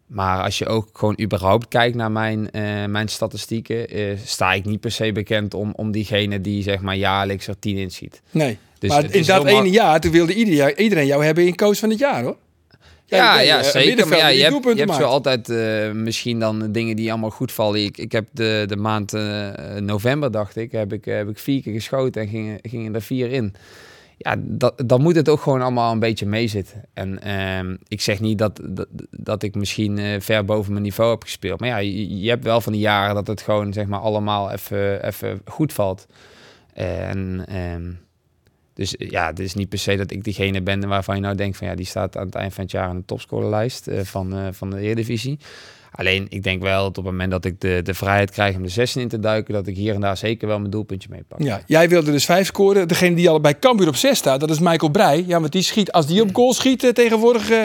D: maar als je ook gewoon überhaupt kijkt naar mijn, eh, mijn statistieken... eh, sta ik niet per se bekend om, om diegene die zeg maar jaarlijks er tien in ziet.
A: Nee.
D: Dus
A: maar
D: het
A: in
D: is
A: dat
D: heel mak-
A: ene jaar, toen wilde ieder jaar- iedereen jou hebben in coach van het jaar, hoor. Jij
D: Ja,
A: bent,
D: ja,
A: eh, een
D: zeker. Maar
A: middenvelder
D: ja,
A: die
D: je hebt, je
A: doelpunten
D: hebt zo
A: maakt.
D: altijd eh, misschien dan dingen die allemaal goed vallen. Ik, ik heb de, de maand eh, november, dacht ik, heb ik, heb ik vier keer geschoten en gingen gingen er vier in. Ja, dat, dan moet het ook gewoon allemaal een beetje meezitten. En ehm, ik zeg niet dat, dat, dat ik misschien eh, ver boven mijn niveau heb gespeeld. Maar ja, je, je hebt wel van die jaren dat het gewoon zeg maar allemaal even even goed valt. En ehm, dus eh, ja, het is niet per se dat ik degene ben waarvan je nou denkt van ja, die staat aan het eind van het jaar aan de topscorerlijst eh, van, eh, van de Eredivisie. Alleen ik denk wel dat op het moment dat ik de, de vrijheid krijg om de 16 in te duiken, dat ik hier en daar zeker wel mijn doelpuntje mee pak.
A: Ja, jij wilde dus vijf scoren. Degene die al bij Cambuur op zes staat, dat is Michael Breij. Ja, want die schiet, als die op goal schiet eh, tegenwoordig, eh,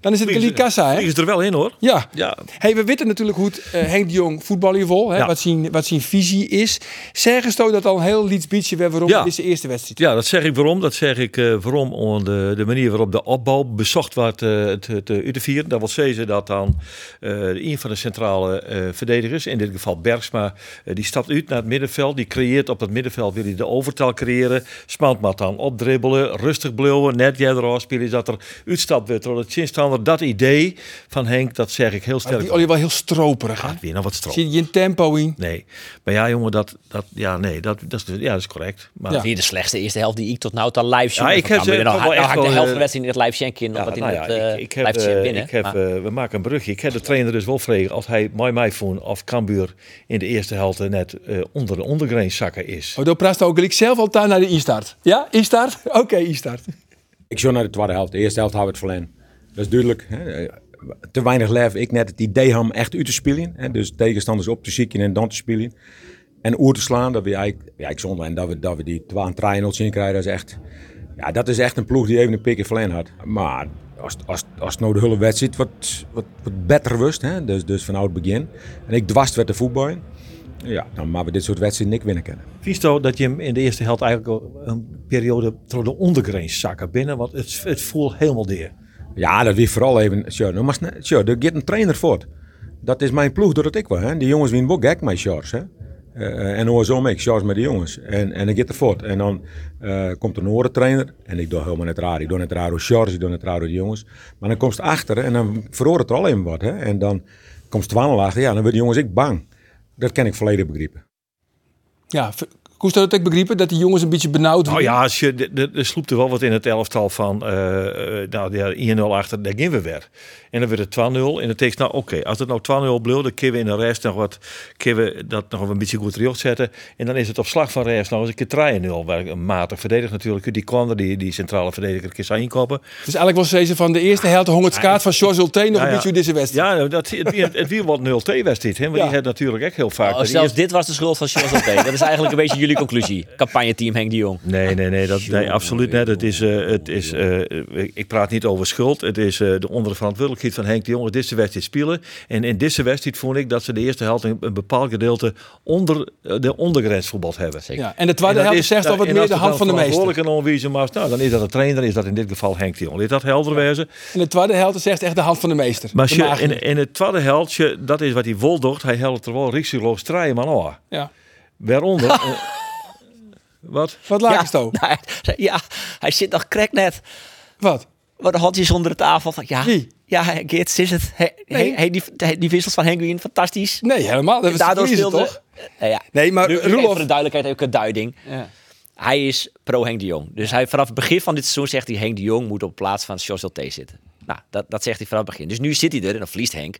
A: dan is het Kali Kassa, hè?
B: Die is er wel in hoor.
A: Ja.
B: Ja,
A: Hey, we weten natuurlijk hoe het, eh, Henk de Jong voetbal hier vol, hè,
B: Ja.
A: wat, zijn, wat zijn visie is. Zeggen ze dat al een heel Leeds Beachje weer waarom
B: Ja.
A: dit is de eerste wedstrijd?
B: Ja, dat zeg ik waarom. Dat zeg ik eh, waarom om de, de manier waarop de opbouw bezocht werd eh, te, te Utevieren. Dat wil zeggen dat dan eh, een van de centrale eh, verdedigers, in dit geval Bergsma, eh, die stapt uit naar het middenveld. Die creëert op het middenveld, wil hij de overtal creëren. Smantmat dan opdribbelen, rustig blouwen, net jij eraf spelen. Dat er uitstapt werd door de chinstander. Dat idee van Henk, dat zeg ik heel
A: Maar
B: sterk.
A: die Olly wel heel stroperig, hè?
B: Gaat weer naar wat stroom.
A: Zit je in tempo in?
B: Nee, maar ja jongen, dat, dat, ja, nee, dat, dat, is, dus- ja, dat is correct. Maar
A: Ja.
E: Hier de slechtste eerste helft die ik tot nou toe live zie.
B: Ja, ik
E: Van
B: heb
E: Cambuur.
B: ze
E: En nou,
B: toch wel
E: nou
B: echt
E: haak ik de
B: wel,
E: helft
B: eh,
E: van de wedstrijd in het live shank in.
B: Ja,
E: Omdat
B: nou
E: in
B: ja,
E: het eh, Nou,
B: ik, ik heb,
E: live shank
B: eh,
E: binnen.
B: ik heb,
E: Maar-
B: eh, we maken een brugje. Ik heb de trainer dus wel vregen als hij mij mij vond of Cambuur in de eerste helft net eh, onder de ondergrens zakken is.
A: Oh, dan praat ook ik zelf al daar naar de instart. Ja, instart? Oké, instart.
F: Ik zou naar de tweede helft. De eerste helft hou ik het verlen. Dat is duidelijk. Hè? Eh, Te weinig lef. Ik net het idee om echt uit te spelen. Hè? Dus tegenstanders op te zieken en dan te spelen. En oer te slaan, dat we eigenlijk, ja, ik zonde. En dat we, dat we die 2 en 3-0 zien krijgen, dat is echt... Ja, dat is echt een ploeg die even een pikje verlen had. Maar als, als, als het nou de hele wedstrijd wat, wat, wat beter was, hè? Dus, dus vanuit het begin. En ik dwast werd de voetbal in. Ja, dan maar we dit soort wedstrijden niet winnen kennen.
B: Visto dat je hem in de eerste helft eigenlijk al een periode door de ondergrens zakken binnen, want het, het voelt helemaal deer.
F: Ja, dat wie vooral even. Sure, nou, maar sne- sure, daar gaat een trainer voor. Dat is mijn ploeg, dat ik wel. Hè. Die jongens winnen ook gek mijn shorts. Hè. Eh, en andersom ik, shorts met de jongens. En, en ik gaat er voort. En dan eh, komt er een andere trainer. En ik doe helemaal net raar. Ik doe net raar door shorts, ik doe net raar door de jongens. Maar dan komt ze achter en dan verhoort het er al even wat. Hè. En dan komt ze twaalf achter. Ja, dan worden de jongens ik bang. Dat kan ik volledig begrijpen.
A: Ja, v- koest dat ook begrepen dat die jongens een beetje benauwd
B: Nou
A: waren?
B: ja, als je, de- de- er sloept er wel wat in het elftal van eh, eh, nou, ja, 1-0 achter, daar gaan we weer. En dan werd het 2-0 en dan denk je, nou oké, als het nou 2-0 bleef, dan kunnen we in de rest nog wat, kunnen we dat nog een beetje goed terug zetten. En dan is het op slag van rest nog eens een keer 3-0, waar ik een matig verdediger natuurlijk, die kwam er, die, die centrale verdediger, een keer zou inkopen.
A: Dus eigenlijk was deze van de eerste helft hong het kaart van George Ulte nog
B: Nou ja.
A: een beetje hoe deze wedstrijd.
B: Ja, dat, het, het, het weer wat 0-2 wedstrijd, hè, want
A: Ja.
B: die had natuurlijk echt heel vaak.
E: Oh,
B: de
E: zelfs
B: eerste-
E: dit was de schuld van Charles Oké. Dat is eigenlijk een beetje jullie conclusie. Campagneteam Henk de Jong.
B: Nee, nee, nee, dat, nee absoluut niet. Het is, eh, het is, eh, ik- ik praat niet over schuld. Het is eh, de onderverantwoordelijkheid van Henk de Jong. Dit is de wedstrijd spelen. En in deze wedstrijd vond ik dat ze de eerste helft een, een bepaald gedeelte onder eh, de ondergrens voetbald hebben.
E: Zeker.
A: Ja, en de tweede
B: En dat
A: helft
B: is-
A: zegt al wat
B: en
A: meer
B: als
A: de
B: het
A: hand
B: dan
A: van de meester.
B: verantwoordelijk en onwijze maakt, nou, dan is dat een trainer, is dat in dit geval Henk de Jong. Dit dat helder wezen.
A: En de tweede helft zegt echt de hand van de meester.
B: Maar
A: De
B: als je
A: maagd.
B: in, in het tweede helftje, dat is wat hij woldocht. Hij helpt er wel risico's draaien, maar nou,
A: ja.
B: waaronder... eh, wat?
A: Wat laat ja.
E: nou, ja, hij zit nog krek net.
A: Wat?
E: Wat de handjes onder de tafel. Van, ja,
A: Wie?
E: Ja, Geerts is het. Hey,
A: Nee.
E: hey, die, hey, die wissels van Henguin, fantastisch.
A: Nee, helemaal. Dat was
E: Daardoor
A: de vriezer,
E: speelde...
A: toch?
E: Eh, ja.
A: Nee, maar
E: Nu, even voor
A: Roelof,
E: de duidelijkheid ook een duiding.
D: Ja.
E: Hij is pro Henk de Jong. Dus hij, vanaf het begin van dit seizoen zegt hij... Henk de Jong moet op plaats van Sjors T zitten. Nou, dat, dat zegt hij vanaf het begin. Dus nu zit hij er en dan verliest Henk.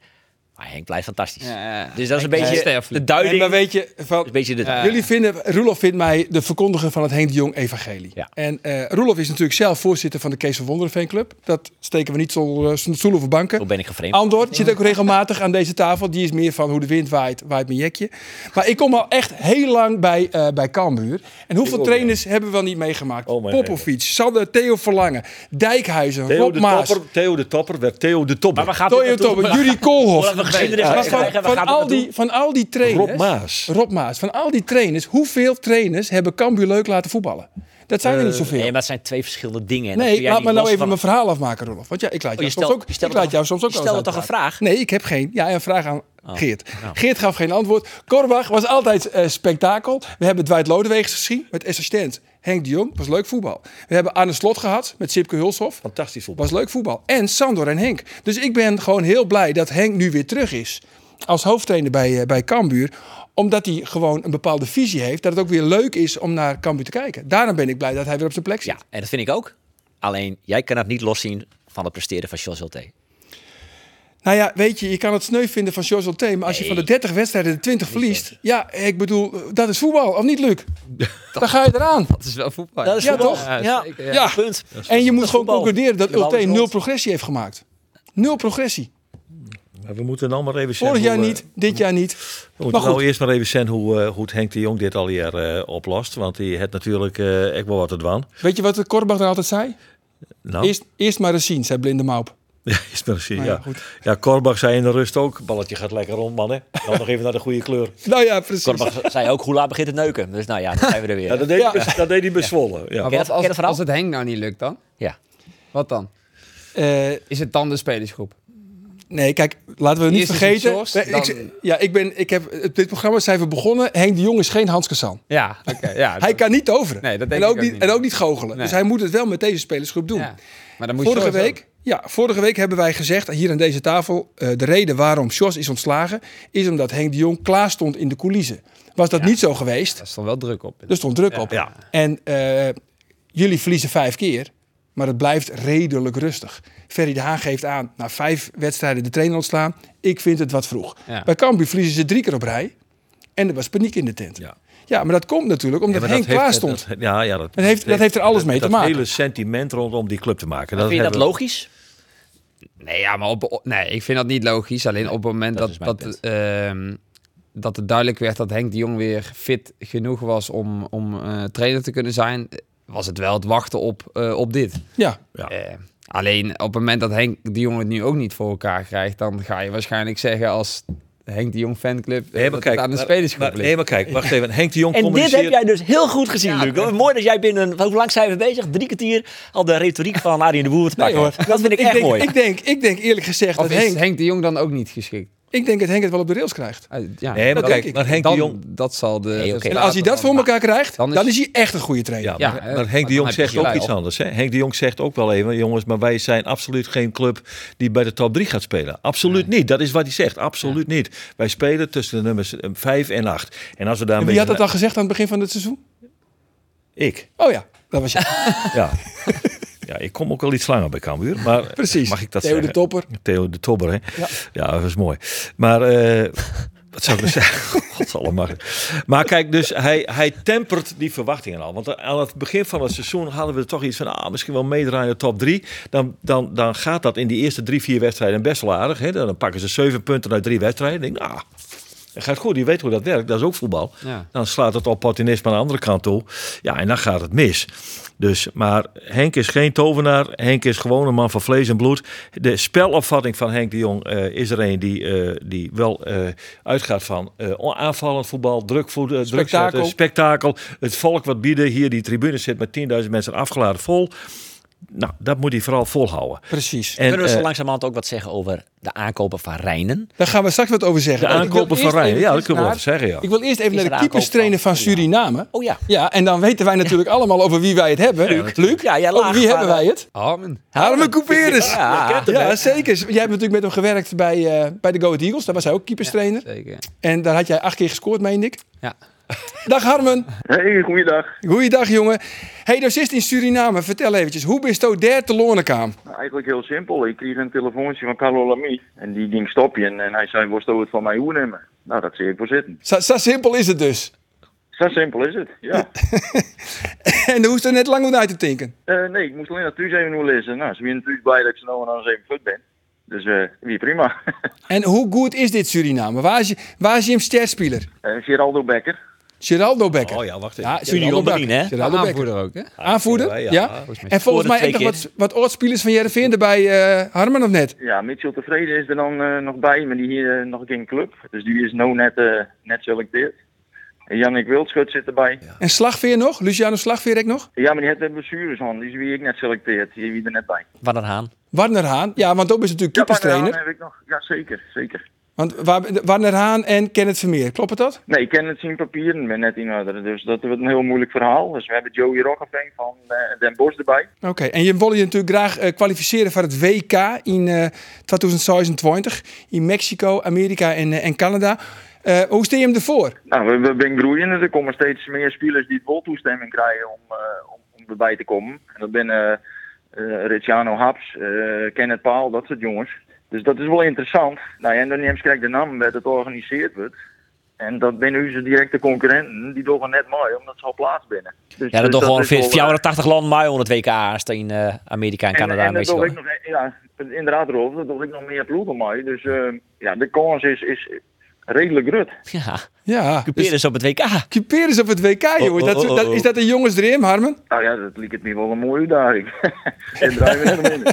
E: Maar Henk blijft fantastisch.
D: Ja, ja.
E: Dus dat is een
D: Henk is
E: beetje
D: sterfelijk.
E: de duiding.
A: En maar weet je, van,
E: een beetje de
D: Ja.
A: jullie vinden, Roelof vindt mij de verkondiger van het Henk de Jong evangelie.
E: Ja.
A: En eh Roelof is natuurlijk zelf voorzitter van de Kees van Wonderen fanclub. Dat steken we niet zonder eh, stoelen of banken.
E: Hoe ben ik gevreemd?
A: Andor zit ook regelmatig aan deze tafel. Die is meer van hoe de wind waait, waait mijn jekje. Maar ik kom al echt heel lang bij, eh bij Cambuur. En hoeveel trainers hebben we wel niet meegemaakt?
B: Oh, mijn
A: Popovic, Sander, Theo Verlangen, Dijkhuizen,
B: Theo
A: Rob
B: de,
A: Maas,
B: topper, Theo de Topper werd Theo de Topper.
E: Maar we gaan
A: Toyo Tobbe, Jurie Koolhof.
E: we geschiedenis
A: Maar Dus van,
E: krijgen, we
A: van,
E: gaan
A: al
E: er
A: die, van al die trainers...
B: Rob Maas.
A: Rob Maas. Van al die trainers, hoeveel trainers hebben Cambuur leuk laten voetballen? Dat zijn er
B: Eh,
A: niet zoveel.
E: Nee, maar het zijn twee verschillende dingen. En dat kun
A: Nee,
E: jij
A: laat
E: niet
A: me nou
E: los
A: even
E: van- Oh,
A: mijn verhaal afmaken, Rolof. Want ja, ik laat jou,
E: je
A: soms,
E: stelt-
A: ook,
E: je stelt
A: ik laat
E: toch-
A: jou soms ook
E: je
A: wel eens
E: stelde toch een
A: uitpraten.
E: vraag? Oh.
A: Nee, ik heb geen. Ja, een vraag aan Geert. Geert gaf geen antwoord. Korbach was altijd eh, spektakel. We hebben Dwight Lodewegens gezien met assistent Henk de Jong. Was leuk voetbal. We hebben Arne Slot gehad met Sipke Hulshof.
B: Fantastisch voetbal.
A: Was leuk voetbal. En Sandor en Henk. Dus ik ben gewoon heel blij dat Henk nu weer terug is. Als hoofdtrainer bij, eh, bij Cambuur. Omdat hij gewoon een bepaalde visie heeft. Dat het ook weer leuk is om naar Cambuur te kijken. Daarom ben ik blij dat hij weer op zijn plek zit.
E: Ja, en dat vind ik ook. Alleen, jij kan het niet loszien van het presteren van Jos Hilté.
A: Nou ja, weet je, je kan het sneu vinden van Josel T. Maar als je van de 30 wedstrijden de 20 verliest. Ja, ik bedoel, eh, dat is voetbal, of niet, Luc? Dan ga je eraan.
D: Dat is wel voetbal.
E: Dat is
A: Ja,
E: voetbal.
A: toch?
E: Ja,
D: zeker,
E: ja.
A: Ja.
E: punt.
A: En je moet
E: is
A: gewoon
E: voetbal.
A: concluderen dat
E: De bal
A: Ulte
E: is
A: nul
E: rond.
A: progressie heeft gemaakt. Nul progressie.
B: Maar we moeten nou maar even zien
A: Vorig
B: hoe,
A: jaar
B: eh,
A: niet, dit jaar niet.
B: We moeten
A: Maar goed.
B: nou eerst maar even zien hoe, eh, hoe het Henk de Jong dit al hier eh, oplost. Want die heeft natuurlijk eh echt wel wat te doen.
A: Weet je wat de Korbach er altijd zei?
B: Nou,
A: Eerst, eerst maar eens zien, zei Blinde Maup.
B: Ja, is precies,
A: Nou ja,
B: ja. Ja,
A: goed.
B: Korbach zei in de rust ook, balletje gaat lekker rond, man. Hè. Dan nog even naar de goede kleur.
A: Nou ja, precies.
E: Korbach zei ook, hoe laat begint het neuken? Dus nou ja, dan zijn we er weer.
B: Ja, dat, deed
A: Ja.
B: Hij, bij- dat deed hij bij Zwolle. Ja.
D: Maar
E: Ken je
D: wat
E: dat- ken je dat
D: als,
E: verhaal?
D: als het Henk nou niet lukt dan?
E: Ja.
D: Wat dan?
A: Eh,
D: Is het dan de spelersgroep?
A: Nee, kijk, laten we niet
D: Eerst is het
A: vergeten.
D: Jos,
A: Nee, ik
D: dan-
A: z- ja, ik ben, ik heb, eh, dit programma zijn we begonnen. Henk de Jong is geen Hans Kazan.
D: Ja, oké. ja,
A: Hij kan niet toveren.
D: Nee, dat denk
A: en, ook
D: ik ook
A: niet,
D: niet.
A: en ook niet goochelen.
D: Nee.
A: Dus hij moet het wel met deze spelersgroep doen.
D: ja. Maar dan moet
A: Vorige
D: George ook.
A: week, ja, vorige week hebben wij gezegd hier aan deze tafel... eh, de reden waarom Sjors is ontslagen... is omdat Henk de Jong klaar stond in de coulissen. Was dat niet zo geweest,
D: Daar stond wel druk op.
A: er stond druk op.
B: ja.
A: En eh, jullie verliezen vijf keer, maar het blijft redelijk rustig. Ferry de Haan geeft aan, na vijf wedstrijden de trainer ontslaan... ik vind het wat vroeg.
D: Ja.
A: Bij Cambuur verliezen ze drie keer op rij... en er was paniek in de tent.
B: Ja.
A: Ja, maar dat komt natuurlijk omdat
B: Ja, maar
A: Henk
B: dat heeft-
A: klaar stond.
B: dat- ja, ja, dat,
A: Dat heeft- dat heeft er alles mee te maken.
B: Het hele sentiment rondom die club te maken.
E: Vind je dat
B: hebben we-
E: logisch?
D: Nee, ja, maar op, nee, ik vind dat niet logisch. Alleen op het moment
E: dat
D: dat,
E: is mijn
D: dat, ehm, dat het duidelijk werd dat Henk de Jong weer fit genoeg was om, om eh, trainer te kunnen zijn, was het wel het wachten op, eh, op dit.
B: dus.
A: Ja.
B: Ja.
D: Eh, alleen op het moment dat Henk de Jong het nu ook niet voor elkaar krijgt, dan ga je waarschijnlijk zeggen als Henk de Jong fanclub eh,
B: Nee,
D: dat
B: maar
D: het
B: kijk,
D: aan de
B: maar-
D: spelersgroep
B: maar- Nee,
D: ligt.
B: maar kijk, wacht even. Henk de Jong
E: En dit
B: communiceert...
E: heb jij dus heel goed gezien, Luc. Mooi dat jij binnen, hoe lang zijn we bezig? Drie kwartier al de retoriek van Arie de Boer te pakken.
A: hoor.
E: dat vind ik,
A: Ik
E: echt
A: denk,
E: mooi.
A: ik, denk, ik denk eerlijk gezegd
D: Of
A: dat
D: is Henk...
A: Henk,
D: de Jong dan ook niet geschikt?
A: ik denk dat Henk het wel op de rails krijgt.
D: Eh, ja,
B: Nee, maar
A: Dat
B: kijk,
A: denk ik.
B: maar Henk
D: dan,
B: de Jong... Nou,
D: Dat zal de...
E: oké.
D: resultaten
A: En als hij dat voor
D: dan-
A: elkaar krijgt, dan
D: dan
A: is,
D: is-
A: hij echt een goede trainer.
B: Ja,
D: Ja,
B: maar,
D: hè,
B: maar
D: maar
B: Henk de
D: dan
B: Jong
D: heb je
B: zegt ook
D: gelijk.
B: iets anders. Hè? Henk de Jong zegt ook wel even, jongens, maar wij zijn absoluut geen club die bij de top 3 gaat spelen. Absoluut niet. Dat is wat hij zegt. Absoluut niet. Wij spelen tussen de nummers 5 en 8. En als we daar
A: En
B: een
A: wie had dat
B: beetje-
A: al gezegd aan het begin van het seizoen?
B: Ik.
A: Oh ja, dat was je.
B: Ja. ja, ik kom ook al iets langer bij Cambuur. Maar eh,
A: Precies.
B: Mag ik dat
A: Theo
B: zeggen?
A: de Topper.
B: Theo de Tobber, hè? Ja, dat is mooi. Maar eh, wat zou ik nou zeggen? Godsallemachtig. Maar kijk, dus hij, hij tempert die verwachtingen al. Want aan het begin van het seizoen hadden we toch iets van... Ah, misschien wel meedraaien in de top drie. Dan, dan, dan gaat dat in die eerste drie, vier wedstrijden best wel aardig. Hè? Dan pakken ze zeven punten uit drie wedstrijden. Ik denk, nou... Dat gaat goed, die weet hoe dat werkt. Dat is ook voetbal.
D: Ja.
B: Dan slaat het opportunisme aan de andere kant toe. Ja, en dan gaat het mis. Dus, maar Henk is geen tovenaar. Henk is gewoon een man van vlees en bloed. De spelopvatting van Henk de Jong eh, is er een die, eh, die wel eh, uitgaat van eh, aanvallend voetbal, druk, voet, eh, druk zetten, spektakel. Het volk wat bieden. Hier die tribune zit met 10.000 mensen afgeladen vol. Nou, dat moet hij vooral volhouden.
A: Precies.
B: En,
E: Kunnen we
B: eh,
E: zo langzamerhand ook wat zeggen over de aankopen van Rijnen?
A: Daar gaan we straks wat over zeggen.
B: de
A: Want ik wil
B: aankopen van
A: eerst
B: Rijn.
A: eventjes
B: Ja, dat kunnen we wel
A: naar-
B: even zeggen. Ja.
A: Ik wil eerst even
E: Is
A: naar
E: er
A: de
E: een
A: keeperstrainer van
E: aankoop van-
A: Suriname.
E: Oh ja.
A: Ja, en dan weten wij natuurlijk allemaal over wie wij het hebben. Luc,
E: Ja, jij
A: over
E: laag,
A: wie
E: maar-
A: hebben wij het?
D: Harmen.
A: Harmen Couperus.
E: Ja. Je kent
A: Ja, zeker. Jij hebt natuurlijk met hem gewerkt bij, eh, bij de Go Ahead Eagles. Daar was hij ook keeperstrainer.
D: Zeker.
A: En daar had jij acht keer gescoord, meen ik.
D: Ja.
A: Dag Harmen.
G: Hey, goeiedag.
A: Goeiedag jongen. Hey, dus is in Suriname. Vertel eventjes, hoe bist u daar te Lornekaam?
G: Nou, eigenlijk heel simpel. Ik kreeg een telefoontje van Carlo Lamy. En die ging stopje en, en hij zei, wil je het van mij nemen? Nou, dat zie ik voor zitten.
A: Zo, zo simpel is het dus.
G: Zo simpel is het, ja.
A: En daar hoeft er net lang om uit te tinken.
G: Eh, nee, ik moest alleen dat thuis even hoe lezen. Nou, ze waren natuurlijk blij dat ik ze nou en dan eens even goed ben. Dus eh, wie prima.
A: En hoe goed is dit Suriname? Waar is je, waar is je sterspeler?
G: Eh Geraldo Becker.
A: Geraldo Becker.
H: Oh ja, wacht even.
A: Ja, Geraldo
E: Union
A: Becker.
E: Berlin, hè?
A: Geraldo Becker.
D: aanvoerder ook, hè?
A: Aanvoerder, ja.
H: Ja, ja.
A: En volgens
E: Scoorde
A: mij ook nog
E: twee
A: wat, wat oudspelers van Jereveen erbij, eh, Harman of net?
G: Ja, Mitchell Tevreden is er dan eh, nog bij, maar die hier eh, nog geen club. Dus die is nou net, eh net selecteerd. En Jannik Wildschut zit erbij. Ja,
A: En Slagveer nog? Luciano Slagveer ook nog?
G: maar die heeft een blessures aan. Die is wie ik net selecteerd. Die is wie er net bij.
E: Van een haan.
A: Warner Haan. Ja, want ook is natuurlijk
G: Ja, maar daaraan
A: keeperstrainer.
G: heb ik nog. Ja, zeker, zeker.
A: Want Wa- Warner Haan en Kenneth Vermeer. Klopt dat?
G: Nee, ik ken het zien papieren, ben net in orde. Dus dat wordt een heel moeilijk verhaal. Dus we hebben Joey Rockeveen van eh, Den Bosch erbij.
A: Oké. En je wil je natuurlijk graag eh, kwalificeren voor het WK in eh 2026. In Mexico, Amerika en, eh, en Canada. Eh, hoe stel je hem ervoor?
G: Nou, we, we zijn groeiende. Er komen steeds meer spelers die het wel toestemming krijgen om, eh, om, om erbij te komen. En dat ben eh eh, Ricciano Haps, eh, Kenneth Paal, dat soort jongens. Dus dat is wel interessant. Nou, ja, en dan neemt krijgt de naam dat het georganiseerd wordt. En dat binnen onze directe concurrenten, die doen wel net mooi, omdat ze al plaats binnen. Dus,
E: Ja,
G: dus
E: dat toch gewoon
G: is wel, eh,
E: 84 landen maar onder het WK aanstaan. eh Amerika en Canada
G: en
E: en,
G: dat
E: Mexico.
G: wil ik nog, ja, inderdaad Rolf, dat wil ik nog meer ploegen mee. Dus eh, ja, de kans is, is redelijk rut.
E: Ja,
A: Ja.
E: Peer is op het WK.
A: Cuperen ze op het WK, jongen. Dat,
H: oh, oh,
A: dat,
H: oh.
A: is dat een jongensdream, Harmen?
G: Nou ja, dat liep het me wel een mooie uitdaging. En draaien we net om in.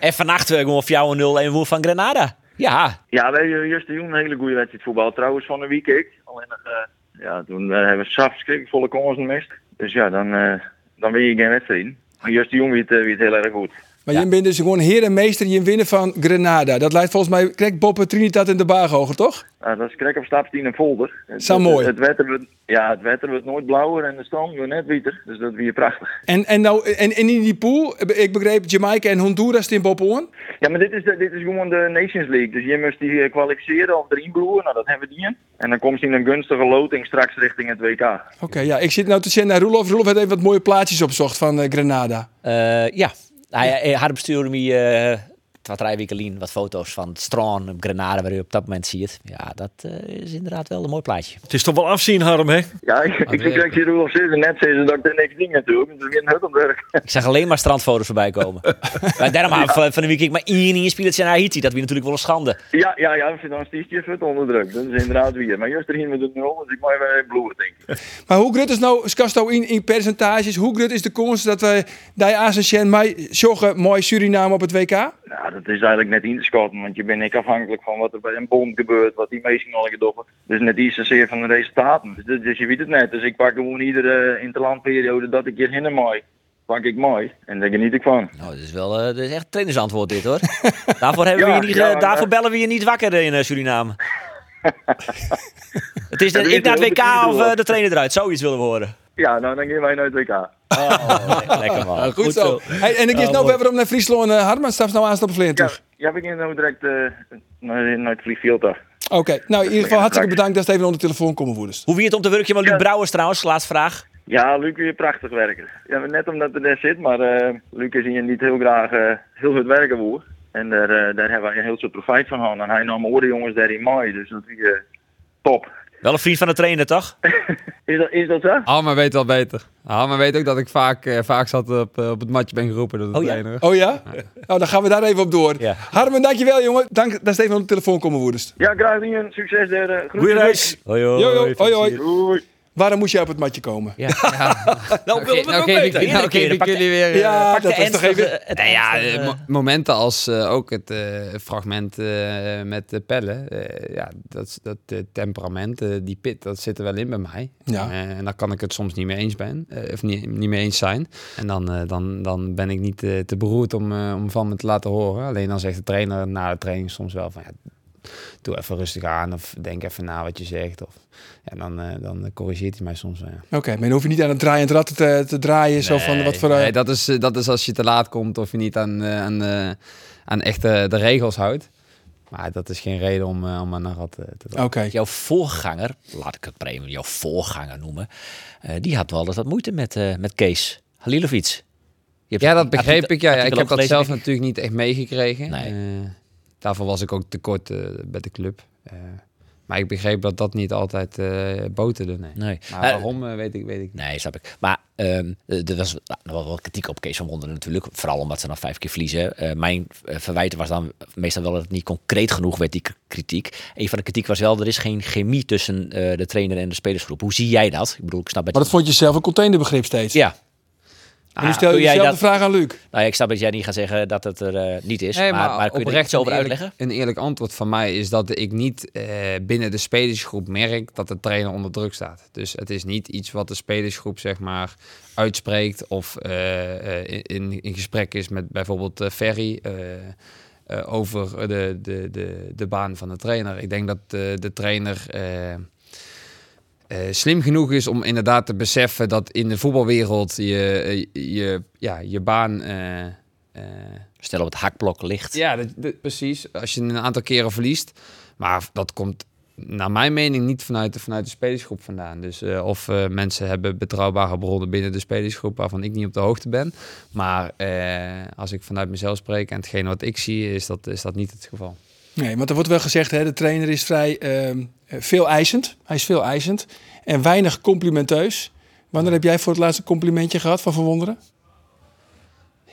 E: En vannacht eh, gewoon voor jou 0-1 woer van Grenada. Ja,
G: ja, wij hebben juist een hele goede wedstrijd voetbal. Trouwens, van de week ik. Alleen nog, eh, ja, toen eh, hebben we s'avonds volle kansen gemist. Dus ja, dan, eh, dan win je geen wedstrijd. Maar juist die jongen weet, eh, weet heel erg goed.
A: Maar je bent dus gewoon heer en meester je winnen van Grenada. Dat lijkt volgens mij, krijgt Bob Trinidad en de Baaghoger, toch?
G: Nou, dat is krek op stap 10 en folder. Het-
A: Zo mooi.
G: Het, het, wetter wordt- ja, het wetter wordt nooit blauwer en de stand wordt net wieter. Dus dat weer prachtig.
A: En, en, nou, en, en in die pool, ik begreep Jamaica en Honduras in Bob Owen.
G: Ja, maar dit is, de, dit is gewoon de Nations League. Dus je moest die eh, kwalificeren of erin broer. Nou, dat hebben we die in. En dan komt ze in een gunstige loting straks richting het WK.
A: Oké, ja, ik zit nou te zien naar Roelof. Roelof heeft even wat mooie plaatjes opzocht van eh, Grenada.
E: eh, ja. Hij, hij had bestuurde me eh wat drie weken geleden wat foto's van het strand op Grenada, waar u op dat moment ziet. Ja, dat eh, is inderdaad wel een mooi plaatje.
H: Het is toch wel afzien, Harm, hè?
G: Ja, ik, ik zie dat je Roelof zitten. Net zei ze dat ik er niks ding natuurlijk. Dus we gaan het op werk.
E: Ik zag alleen maar strandfoto's voorbij komen. maar daarom hadden we van, van de week ik maar één inspielertje naar Haiti. Dat weer natuurlijk wel een schande.
G: Ja, ja, ja. We zitten dan stiefje even onder druk. Dat is inderdaad weer. Maar juist erin met de nul. Dus ik mag even bloeien, denk ik.
A: Maar hoe groot is nou, Skasto, in, in percentages, hoe groot is de kans dat wij die Asenschen mij joggen mooi Suriname op het WK?
G: Nou, dat is eigenlijk net in te schatten. Want je bent niet afhankelijk van wat er bij een bond gebeurt. Wat die meesten al gedoffen. Dus net iets zozeer van de resultaten. Dus, dus je weet het net. Dus ik pak gewoon iedere interlandperiode dat ik hier hinnen mooi. Pak ik mooi. En daar geniet ik van.
E: Nou, dat is wel eh, dat is echt trainersantwoord dit hoor. daarvoor hebben
G: Ja,
E: we je niet,
G: ja,
E: eh,
G: maar-
E: daarvoor bellen we je niet wakker in eh, Suriname. het is net
G: weet
E: ik naar het
G: je ook, dat weet
E: WK of
G: je
E: eh,
G: ook.
E: de trainer eruit. Zoiets willen we horen. Oh,
G: Ja, nou dan gaan wij naar het WK.
E: Lekker man.
A: Goed, zo. Hey, en ik is nou weer weer om naar Friesland, eh Harman, straks nou aanstappen vliegen
G: Ja,
A: terug.
G: ja we gaan nou direct eh, naar, naar het vliegveld. af.
A: Oké, nou in ieder geval hartstikke bedankt dat ze even onder de telefoon komen woeders.
E: Hoe wie het om te werken met Luc Brouwers trouwens? Laatste vraag.
G: Ja, Luc weer prachtig werken. Ja, maar net omdat er daar zit, maar eh Luc is hier niet heel graag eh, heel goed werken voor. En daar, eh, daar hebben wij een heel soort profijt van gehad. En hij nam andere jongens daar in mei, dus dat is eh, top.
E: Wel een vriend van de trainer toch?
G: Is dat, is dat zo?
D: Harmer weet wel beter. Harmer weet ook dat ik vaak, eh, vaak zat op, eh, op het matje ben geroepen door de
E: Oh ja.
D: trainer.
A: Oh ja? Nou, dan gaan we daar even op door.
E: Ja.
A: Harman, dankjewel jongen. Dank dat ze even onder de telefoon komen woeders.
G: Ja, graag een succes daar. eh, groeten.
H: Goeie reis.
E: Hoi
A: Hoi, hoi, hoi, hoi.
G: Doei.
A: Waarom moest jij op het matje komen?
H: Nou, willen we het
D: nou,
H: nog
D: geef ik,
H: weten.
D: nou,
E: Iedere keer,
D: geef ik
E: pak de-
D: jullie weer... eh,
A: Ja,
E: Pak
A: dat
E: de
A: is toch
E: ernstige-
A: even...
E: het
D: Nou ja,
E: ernstige-
D: eh, mo- momenten als eh, ook het eh, fragment eh, met de pellen. eh, ja, dat, dat eh, temperament, eh, die pit, dat zit er wel in bij mij.
A: Ja.
D: Eh, en dan kan ik het soms niet mee eens ben, eh, of niet, niet mee eens zijn. En dan, eh, dan, dan ben ik niet eh, te beroerd om, eh, om van me te laten horen. Alleen dan zegt de trainer na de training soms wel van... Ja, doe even rustig aan of denk even na wat je zegt. Of, ja, dan, eh, dan corrigeert hij mij soms wel. ja.
A: Oké, maar dan hoef je niet aan het draaiend rad te, te draaien. zo van, wat voor... eh,
D: Nee, dat, is, eh, dat is als je te laat komt of je niet aan, eh, aan, eh, aan echt eh, de regels houdt. Maar dat is geen reden om, eh, om aan een rat eh, te
A: Oké.
D: trappen.
E: Jouw voorganger, laat ik het maar even jouw voorganger noemen, eh, die had wel eens wat moeite met, eh, met Kees. Halilovic. Je hebt
D: Ja, dat
E: het artikel-
D: begreep ik. Ja, ja. Ik
E: artikel
D: heb
E: ook
D: dat
E: gelezen,
D: zelf
E: denk ik.
D: natuurlijk niet echt meegekregen.
E: Nee.
D: Eh, daarvoor was ik ook tekort eh bij de club. Eh, maar ik begreep dat dat niet altijd eh boterde. Nee.
E: Nee.
D: Maar
E: Eh,
D: waarom eh, weet, ik, weet ik niet.
E: Nee, snap ik. Maar ehm, eh, er was nou, nog wel wat kritiek op Kees van Wonderen natuurlijk. Vooral omdat ze dan vijf keer verliezen. Eh, mijn eh, verwijten was dan meestal wel dat het niet concreet genoeg werd, die k- kritiek. Een van de kritiek was wel, er is geen chemie tussen eh, de trainer en de spelersgroep. Hoe zie jij dat? Ik bedoel, ik snap dat...
A: Maar dat vond je zelf een containerbegrip steeds.
E: Ja.
A: En nu
E: Ah,
A: stel je
E: doe jij
A: dezelfde
E: dat-
A: vraag aan Luc.
E: Nou ja, ik snap dat jij niet gaat zeggen dat het er eh, niet is.
D: Nee,
E: maar, maar, kun je er iets over
D: een eerlijk-
E: uitleggen?
D: Een eerlijk antwoord van mij is dat ik niet eh, binnen de spelersgroep merk dat de trainer onder druk staat. Dus het is niet iets wat de spelersgroep zeg maar uitspreekt of eh, eh, in, in gesprek is met bijvoorbeeld eh, Ferry eh, eh, over de, de, de, de baan van de trainer. Ik denk dat eh, de trainer... eh, eh, slim genoeg is om inderdaad te beseffen dat in de voetbalwereld je, eh, je, ja, je baan eh, eh,
E: Stel op het hakblok ligt.
D: ja, dat, dat- precies. Als je een aantal keren verliest. Maar dat komt naar mijn mening niet vanuit de, vanuit de spelersgroep vandaan. Dus eh, of eh, mensen hebben betrouwbare bronnen binnen de spelersgroep waarvan ik niet op de hoogte ben. Maar eh, als ik vanuit mezelf spreek en hetgeen wat ik zie, is dat, is dat niet het geval.
A: Nee, want er wordt wel gezegd, hè, de trainer is vrij ehm, eh, veel eisend. Hij is veel eisend en weinig complimenteus. Wanneer heb jij voor het laatste complimentje gehad van Verwonderen?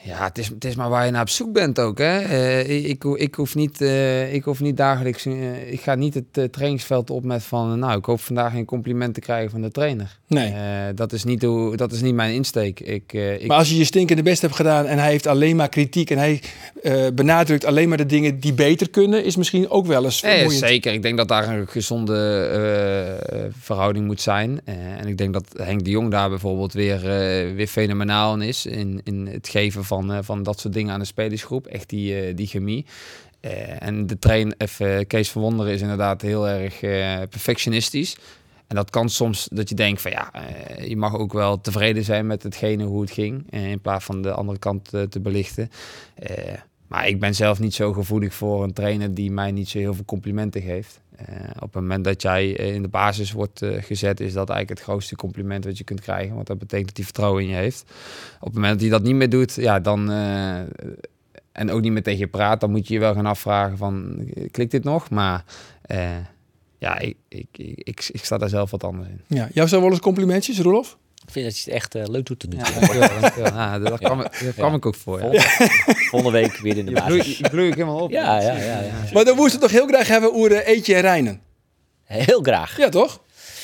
D: Ja, het is, het is maar waar je naar op zoek bent ook. Hè? Eh, ik, ho- ik, hoef niet, eh, ik hoef niet dagelijks... eh, ik ga niet het eh, trainingsveld op met van... nou, ik hoop vandaag geen compliment te krijgen van de trainer.
A: Nee.
D: Eh, dat, is niet hoe, dat is niet mijn insteek. Ik, eh, ik,
A: Maar als je je stinkende best hebt gedaan en hij heeft alleen maar kritiek en hij eh, benadrukt alleen maar de dingen die beter kunnen, is misschien ook wel eens
D: Nee,
A: vermoeiend.
D: zeker. Ik denk dat daar een gezonde eh, eh, verhouding moet zijn. Eh, en ik denk dat Henk de Jong daar bijvoorbeeld weer, eh, weer fenomenaal in is. In, in het geven van, eh, van dat soort dingen aan de spelersgroep. Echt die, eh, die chemie. Eh, en de train, even Kees van Wonderen is inderdaad heel erg eh, perfectionistisch. En dat kan soms dat je denkt van ja, eh, je mag ook wel tevreden zijn met hetgene hoe het ging. eh, in plaats van de andere kant eh, te belichten. Eh, maar ik ben zelf niet zo gevoelig voor een trainer die mij niet zo heel veel complimenten geeft. Eh, op het moment dat jij eh, in de basis wordt eh, gezet, is dat eigenlijk het grootste compliment wat je kunt krijgen. Want dat betekent dat hij vertrouwen in je heeft. Op het moment dat hij dat niet meer doet, ja, dan. eh, en ook niet meer tegen je praat, dan moet je je wel gaan afvragen van, eh, klikt dit nog? Maar eh, ja, ik, ik, ik, ik, ik sta daar zelf wat anders in.
A: Ja, jou zijn wel eens complimentjes, Roelof?
E: Ik vind dat je het echt eh, leuk doet te doen.
D: Ja, dankjewel. ja, daar kwam, daar kwam ik ook voor. Ja.
E: Volgende week weer in de
D: Je, bloei,
E: basis.
D: je bloei ik helemaal op.
E: Ja, ja, ja, ja.
A: Maar dan moest het toch heel graag hebben over eh, Eetje en Rijnen.
E: Heel graag.
A: Ja, toch?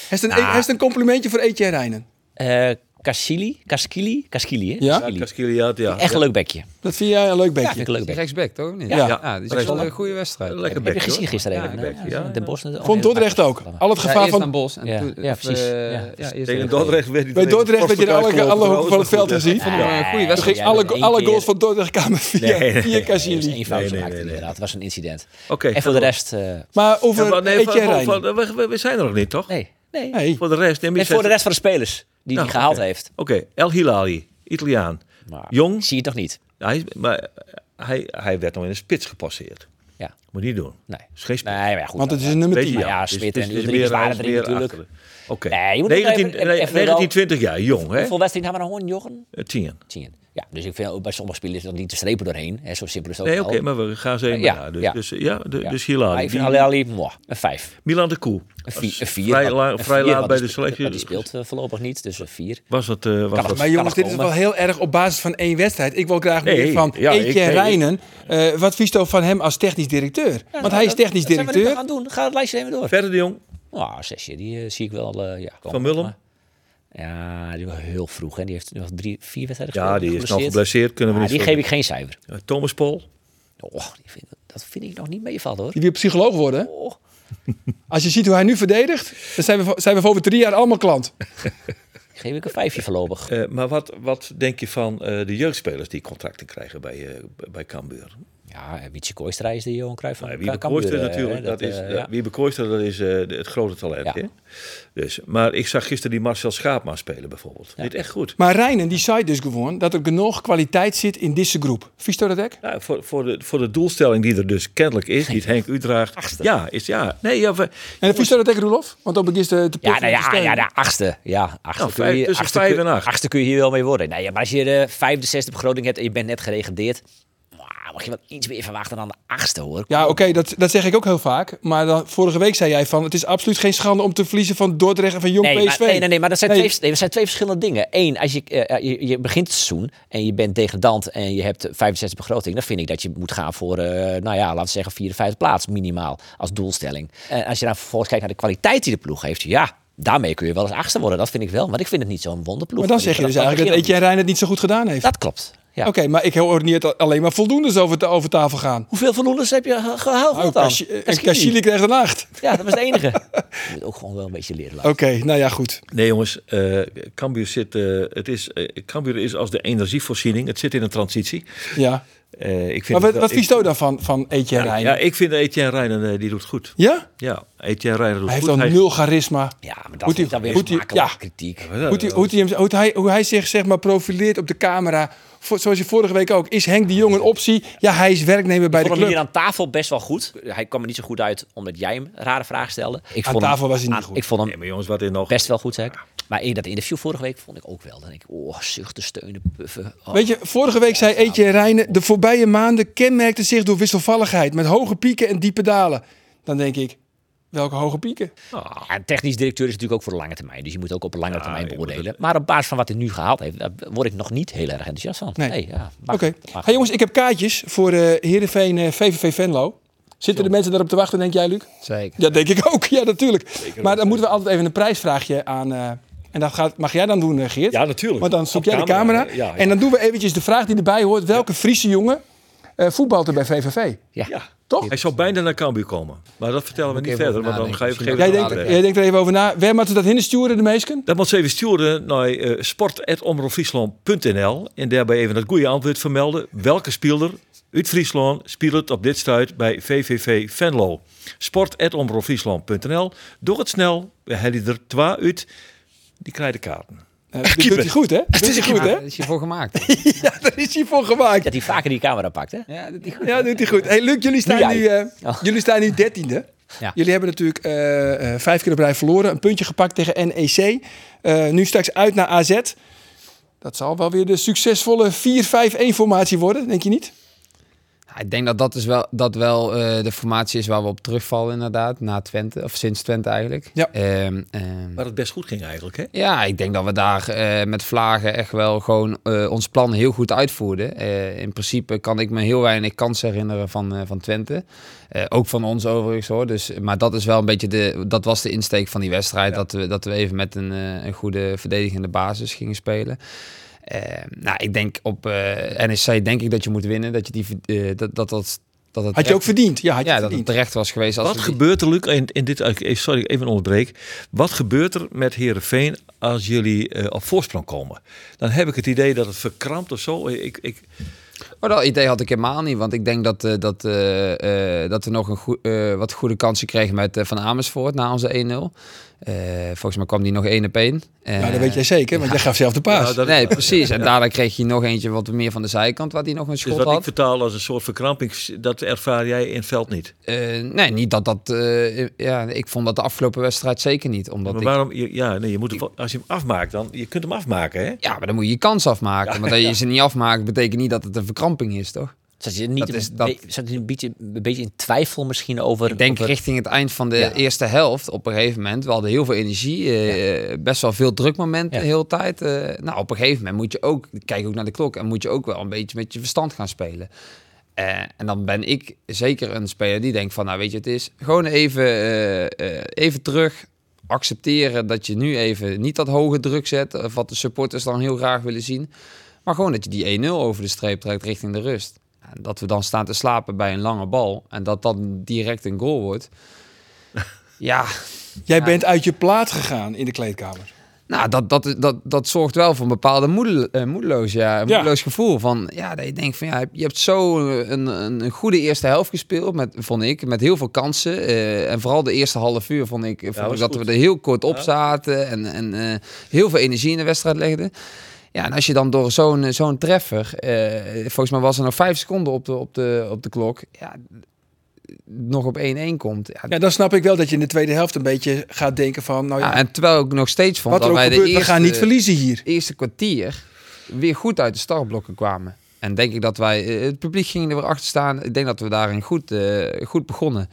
A: Heeft een,
E: Ah.
A: heeft een complimentje voor Eetje en Rijnen?
E: Eh Kasili, Kaskili, Kaskili, hè?
A: Ja?
H: Ja, Kaskiliad, ja.
E: Echt een leuk bekje.
A: Dat vind jij een leuk
E: Ja,
A: beetje.
E: vind ik een leuk
D: Die
E: bekje.
D: rechtsback, toch? of Niet?
A: Ja.
D: dus
H: Rechtsback.
D: dat was een goede wedstrijd.
H: Lekker
E: Heb je
H: bek,
E: gezien
H: hoor.
E: gisteren
D: Ja,
E: even?
H: leuk bekje, ja.
E: Den Bosch. net-
A: Vond Dordrecht ook. Al het
D: Ja,
A: gevaar
D: eerst
A: van
D: naar Bos. En
E: Ja,
D: toen,
E: ja, precies.
D: eh,
E: Ja.
D: eerst
H: Tegen
D: naar-
H: Dordrecht werd hij
A: Bij
H: er even
A: Dordrecht werd je in
H: vast
A: alle,
H: elkaar
A: alle hoeken
H: gelopen,
A: van het veld te
H: trouwens.
A: zien.
D: Vond ik wel een goede
A: Toen ging
D: wedstrijd.
A: alle, alle goals
E: van
A: van Dordrecht kwamen via,
H: Nee, nee,
A: via
E: Nee, dat is
A: Casilli.
E: één foutje
H: Nee, nee,
E: maakte
H: nee, nee.
E: inderdaad. Het was een incident.
H: Oké.
E: en voor de rest... eh,
A: Maar
H: Ja,
A: over
H: maar nee,
A: Eetje en
H: van- van-
A: Rijnen.
H: van- we- we- We zijn er nog niet, toch?
E: nee, nee.
A: Nee.
H: Voor de rest.
E: En voor de rest van de spelers die hij gehaald heeft.
H: Nou, Oké, El Hilali, Italiaan.
E: Maar
H: Jong.
E: Zie je toch niet?
H: Hij, is- maar eh, hij, hij werd nog in de spits gepasseerd.
E: Ja.
H: Moet niet doen.
E: Nee.
H: Is geen spits.
E: Nee, maar ja, goed.
A: Want
E: dan-
A: het
E: eh,
A: is een nummer
H: Weet je,
A: 10.
E: ja,
H: dus-
E: Smit
H: dus-
E: en
H: dus
E: Ulrich
H: meer-
E: waren er
H: meer
E: natuurlijk.
H: achteren. Oké.
E: Nee, je moet nog
H: 19,
E: even- even- even
H: 19, 20 jaar, jong hè?
E: Hoeveel wedstrijden hebben we nog gewonnen, Jochen?
H: Eh, Tien.
E: Tien. Ja, dus ik vind ook bij sommige spelers dan niet te strepen doorheen. Hè, zo simpel is het ook
H: Nee, oké,
E: wel.
H: maar we gaan ze even
E: Ja,
H: na. Dus,
E: ja.
H: dus, eh, ja, de-
E: Ja.
H: dus
E: Maar
H: Hilali.
E: ik vind
H: Die-
E: Ali Ali, mwah, een vijf.
H: Milan de Koe.
E: Een vi- een vier.
H: Vrij,
E: want-
H: la-
E: een
H: vrij
E: vier,
H: laat
E: want
H: bij
E: die
H: de
E: spe-
H: selectie.
E: maar Die speelt eh, voorlopig niet, dus een vier.
H: Was dat... eh, was dat
A: Maar jongens, dit is wel
E: komen.
A: heel erg op basis van één wedstrijd. Ik wil graag meer
H: Nee,
A: van
H: ja, ik-
A: Eetje en
H: nee,
A: Rijnen. Eh, wat vies toch van hem als technisch directeur? Want hij is technisch
E: nou, Dat zijn we nu
A: directeur.
E: gaan doen. Ga het lijstje even door.
H: Verder de Jong.
E: Nou, zesje, die eh, zie ik wel. eh, ja, komen.
H: Van Mullen.
E: Ja, die was heel vroeg. Hè. Die heeft nog drie, vier wedstrijden
H: Ja,
E: gespeeld,
H: die is nog geblesseerd. Ah, Kunnen we
E: Maar
H: niet
E: die
H: voor-
E: geef ik geen cijfer.
H: Eh, Thomas Pol.
E: Och, die vind, dat vind ik nog niet meevallen hoor.
A: Die wil psycholoog worden. hè?
E: Och.
A: Als je ziet hoe hij nu verdedigt, dan zijn we, vo- zijn we voor over drie jaar allemaal klant.
E: Geef ik een vijfje voorlopig.
H: Eh, maar wat, wat denk je van eh, de jeugdspelers die contracten krijgen bij, eh, bij Cambuur?
E: Ja, Wietse Kooistra is de Johan Cruijff van
B: Nou,
E: Ka-
B: Wiebe
E: Cambuur,
B: Kooijster
E: eh,
B: natuurlijk,
E: hè,
B: dat, is,
E: eh,
B: dat-
E: ja.
B: Wiebe Kooijster, dat is eh, de- het grote talent.
E: Ja.
B: Hè? Dus, maar ik zag gisteren die Marcel Schaapma spelen bijvoorbeeld. Dit echt goed.
A: Maar Reinen die zei dus gewoon dat er genoeg kwaliteit zit in deze groep. Vies dat ook?
B: Nou, voor, voor, de, voor de doelstelling die er dus kennelijk is, die het Henk Udraagt. Ja, is ja. Nee, ja, we-
A: En vies dat ook, Roelof? Want dan begint de te
E: Ja, nou ja,
A: te
E: ja, de achtste. Ja, achtste
B: Nou,
E: kun
B: vijf-
E: je,
B: tussen
E: achtste
B: vijf
E: kun-
B: en acht.
E: Achtste kun je hier wel mee worden. Nee, ja, maar als je de vijfde, zesde begroting hebt en je bent net geregendeerd... ah, mag je wel iets meer verwachten dan de achtste, hoor.
A: Ja, oké, dat, dat zeg ik ook heel vaak. Maar dan, vorige week zei jij van... het is absoluut geen schande om te verliezen van Dordrecht en van Jong
E: Nee,
A: PSV.
E: Maar, nee, nee, nee, maar dat zijn,
A: Nee.
E: Twee, nee, dat zijn twee verschillende dingen. Eén, als je, eh, je, je begint het seizoen en je bent degradant en je hebt 65 begroting, dan vind ik dat je moet gaan voor, eh, nou ja, laten we zeggen 54 plaats minimaal als doelstelling. En als je dan vervolgens kijkt naar de kwaliteit die de ploeg heeft, ja, daarmee kun je wel eens achtste worden. Dat vind ik wel, maar ik vind het niet zo'n wonderploeg.
A: Maar dan zeg je dus eigenlijk dat Etienne Rijn het niet zo goed gedaan heeft.
E: Dat klopt. Ja.
A: Oké, maar ik hoor niet dat alleen maar voldoendes over, ta- over tafel gaan.
E: Hoeveel verloeders heb je ge- gehaald
A: Oh,
E: dan?
A: Kashi- eh, en
E: Kashili.
A: Kashili krijgt een acht.
E: Ja, dat was de enige. je moet ook gewoon wel een beetje leren laten.
A: Oké, nou ja, goed.
B: nee jongens, eh Cambuur, zit, eh, het is, eh, Cambuur is als de energievoorziening. Het zit in een transitie.
A: Ja.
B: Eh, ik
A: Maar
B: vind
A: wat,
B: het
A: wat
B: wel-
A: vies jou dan van, van Etienne
B: ik,
A: Rijn?
B: ja, ik vind Etienne Reijnen, eh, die doet het goed.
A: Ja?
B: Ja, Etienne Reijnen doet
A: Hij heeft
B: goed.
A: dan
B: Hij-
A: nul charisma.
E: Ja, maar dat
A: Moet
E: moet
A: hij-
E: is dan weer
A: moet hij-
E: smakelijke
A: ja.
E: kritiek.
A: Hoe, die, hoe, die hem, hoe, hij, hoe hij zich zeg maar, profileert op de camera. Vo- zoals je vorige week ook. Is Henk de Jong een optie? Ja, hij is werknemer bij de
E: vond hem hier
A: club.
E: aan tafel best wel goed. Hij kwam er niet zo goed uit omdat jij hem rare vragen stelde. Ik
A: Aan
E: vond hem-
A: tafel was hij niet
E: aan-
A: goed.
E: Ik vond
B: Nee,
E: hem
B: maar jongens, wat in nog?
E: best wel goed, zeg ik. Maar in dat interview vorige week vond ik ook wel. Dan denk ik, oh, zuchten, steunen, puffen. Oh.
A: Weet je, vorige week zei Eetje Rijnen... de voorbije maanden kenmerkte zich door wisselvalligheid... met hoge pieken en diepe dalen. Dan denk ik, welke hoge pieken?
E: Ja, en ah, technisch directeur is natuurlijk ook voor de lange termijn. Dus je moet ook op de lange termijn beoordelen. Maar op basis van wat hij nu gehaald heeft, daar word ik nog niet heel erg enthousiast van.
A: Nee.
E: Nee, ja.
A: Oké.
E: mag. Mag.
A: Hey jongens, ik heb kaartjes voor eh Heerenveen eh, VVV Venlo. Zitten de mensen daarop te wachten, denk jij, Luc?
D: Zeker.
A: Ja, denk ik ook. Ja, natuurlijk. maar dan moeten we altijd even een prijsvraagje aan... eh, en dat gaat, mag jij dan doen, eh, Geert?
B: Ja, natuurlijk.
A: Want dan zoek
B: Op
A: jij de camera.
B: camera, eh, ja, ja.
A: En dan doen we eventjes de vraag die erbij hoort. Welke Friese jongen eh, voetbalt er bij VVV?
B: Ja.
A: Toch?
B: Hij zou bijna naar Cambuur komen. Maar dat vertellen we
D: Moet
B: niet
D: ik even
B: verder, want dan
D: nadenken.
B: ga je
D: Misschien
B: geven.
A: Jij
D: Ja,
A: denkt,
D: ja.
A: jij denkt er even over na. Waar moeten we dat heen sturen, de meesken?
B: Dat moet ze even sturen naar eh, sport.omroepfriesland.nl en daarbij even het goede antwoord vermelden. Welke speler uit Friesland speelt het op dit stuit bij VVV Venlo? Sport.omroepfriesland.nl Doe het snel, we hebben er twee uit. Die krijgen de kaarten.
A: Eh, dit doet hij goed, hè? Dat is goed, hè?
D: Daar is je voor gemaakt.
A: Ja, daar is hij voor gemaakt.
E: Dat hij vaker die camera pakt, hè?
D: ja, dat is goed.
A: Ja, doet hij goed. Hey, Luc, jullie staan
E: Nu jij.
A: nu, eh
E: Oh.
A: jullie staan nu dertiende.
D: Ja.
A: Jullie hebben natuurlijk eh, eh, vijf keer op rij verloren. Een puntje gepakt tegen NEC. Eh, nu straks uit naar AZ. Dat zal wel weer de succesvolle 4-5-1-formatie worden, denk je niet?
D: Ja, ik denk dat dat, is wel, dat wel eh, de formatie is waar we op terugvallen inderdaad. Na Twente, of sinds Twente eigenlijk.
A: Ja.
D: Ehm, ehm,
B: Waar het best goed ging eigenlijk, hè?
D: ja, ik denk dat we daar eh, met Vlagen echt wel gewoon eh, ons plan heel goed uitvoerden. Eh, in principe kan ik me heel weinig kansen herinneren van, eh, van Twente. Eh, ook van ons overigens hoor. Dus, maar dat is wel een beetje de, dat was de insteek van die wedstrijd. Dat, we, dat we even met een, eh, een goede verdedigende basis gingen spelen. Eh, nou, ik denk op eh NEC denk ik dat je moet winnen. Dat je die, verd- eh, dat, dat, dat, dat het
A: Had je ook verdiend? Ja, had je
D: ja, dat het
A: verdiend.
D: terecht was geweest. Als
B: Wat
D: we die-
B: gebeurt er, Luc, in, in dit, eh, sorry, even onderbreek. Wat gebeurt er met Herenveen als jullie eh, op voorsprong komen? Dan heb ik het idee dat het verkrampt of zo. Ik, ik,
D: Maar dat idee had ik helemaal niet. Want ik denk dat, eh, dat, eh, eh, dat we nog een goe- eh, wat goede kansen kregen met eh, Van Amersfoort na onze 1-0. Eh, volgens mij kwam die nog 1 op 1.
A: Ja, dat weet jij zeker, want jij gaf zelf de paas.
B: Ja, nou, dat-
D: nee, precies. En daarna kreeg je nog eentje wat meer van de zijkant, waar hij nog een
B: Dus
D: schot
B: wat ik
D: had.
B: vertaal als een soort verkramping, dat ervaar jij in het veld niet.
D: Eh, nee, niet dat dat... eh, ja, ik vond dat de afgelopen wedstrijd zeker niet. Omdat
B: Maar
D: ik-
B: waarom? je- Ja, nee, je moet hem, wel- als je hem afmaakt, dan je kunt hem afmaken, hè?
D: ja, maar dan moet je je kans afmaken. maar dat je ze niet afmaakt, betekent niet dat het een verkramping is, toch?
E: Zat je niet
D: Dat is
E: een,
D: dat-
E: be- zat je een, beetje, een beetje in twijfel misschien over...
D: Ik denk
E: over-
D: richting het eind van de
E: Ja.
D: eerste helft op een gegeven moment. We hadden heel veel energie, eh, best wel veel drukmomenten
E: Ja.
D: de hele tijd. eh, nou, op een gegeven moment moet je ook, kijk ook naar de klok, en moet je ook wel een beetje met je verstand gaan spelen. Eh, en dan ben ik zeker een speler die denkt van, nou weet je, het is gewoon even, eh, eh, even terug accepteren dat je nu even niet dat hoge druk zet, of wat de supporters dan heel graag willen zien. Maar gewoon dat je die 1-0 over de streep trekt richting de rust. En dat we dan staan te slapen bij een lange bal en dat dan direct een goal wordt. Ja,
A: Jij bent uit je plaat gegaan in de kleedkamer.
D: Nou, dat, dat, dat, dat zorgt wel voor een bepaalde moedel, eh, moedeloos, ja, een
A: Ja.
D: moedeloos gevoel. Van, ja, dat je denkt van ja, je hebt zo een, een, een goede eerste helft gespeeld, met, vond ik, met heel veel kansen. eh, en vooral de eerste half uur vond ik, vond
H: was
D: ik dat
H: goed.
D: we er heel kort op zaten en, en eh, heel veel energie in de wedstrijd legden. Ja, en als je dan door zo'n eh, zo'n treffer, eh, volgens mij was er nog vijf seconden op de, op de, op de klok, ja, nog op 1-1 komt. Ja,
A: Ja, dan snap ik wel dat je in de tweede helft een beetje gaat denken van, nou ja,
D: ja, en terwijl ik nog steeds vond
A: wat er
D: dat
A: ook
D: wij
A: gebeurt,
D: de
A: we
D: eerste,
A: gaan niet verliezen hier.
D: eerste kwartier weer goed uit de startblokken kwamen. En denk ik dat wij, eh, het publiek ging er weer achter staan. Ik denk dat we daarin goed, eh, goed begonnen.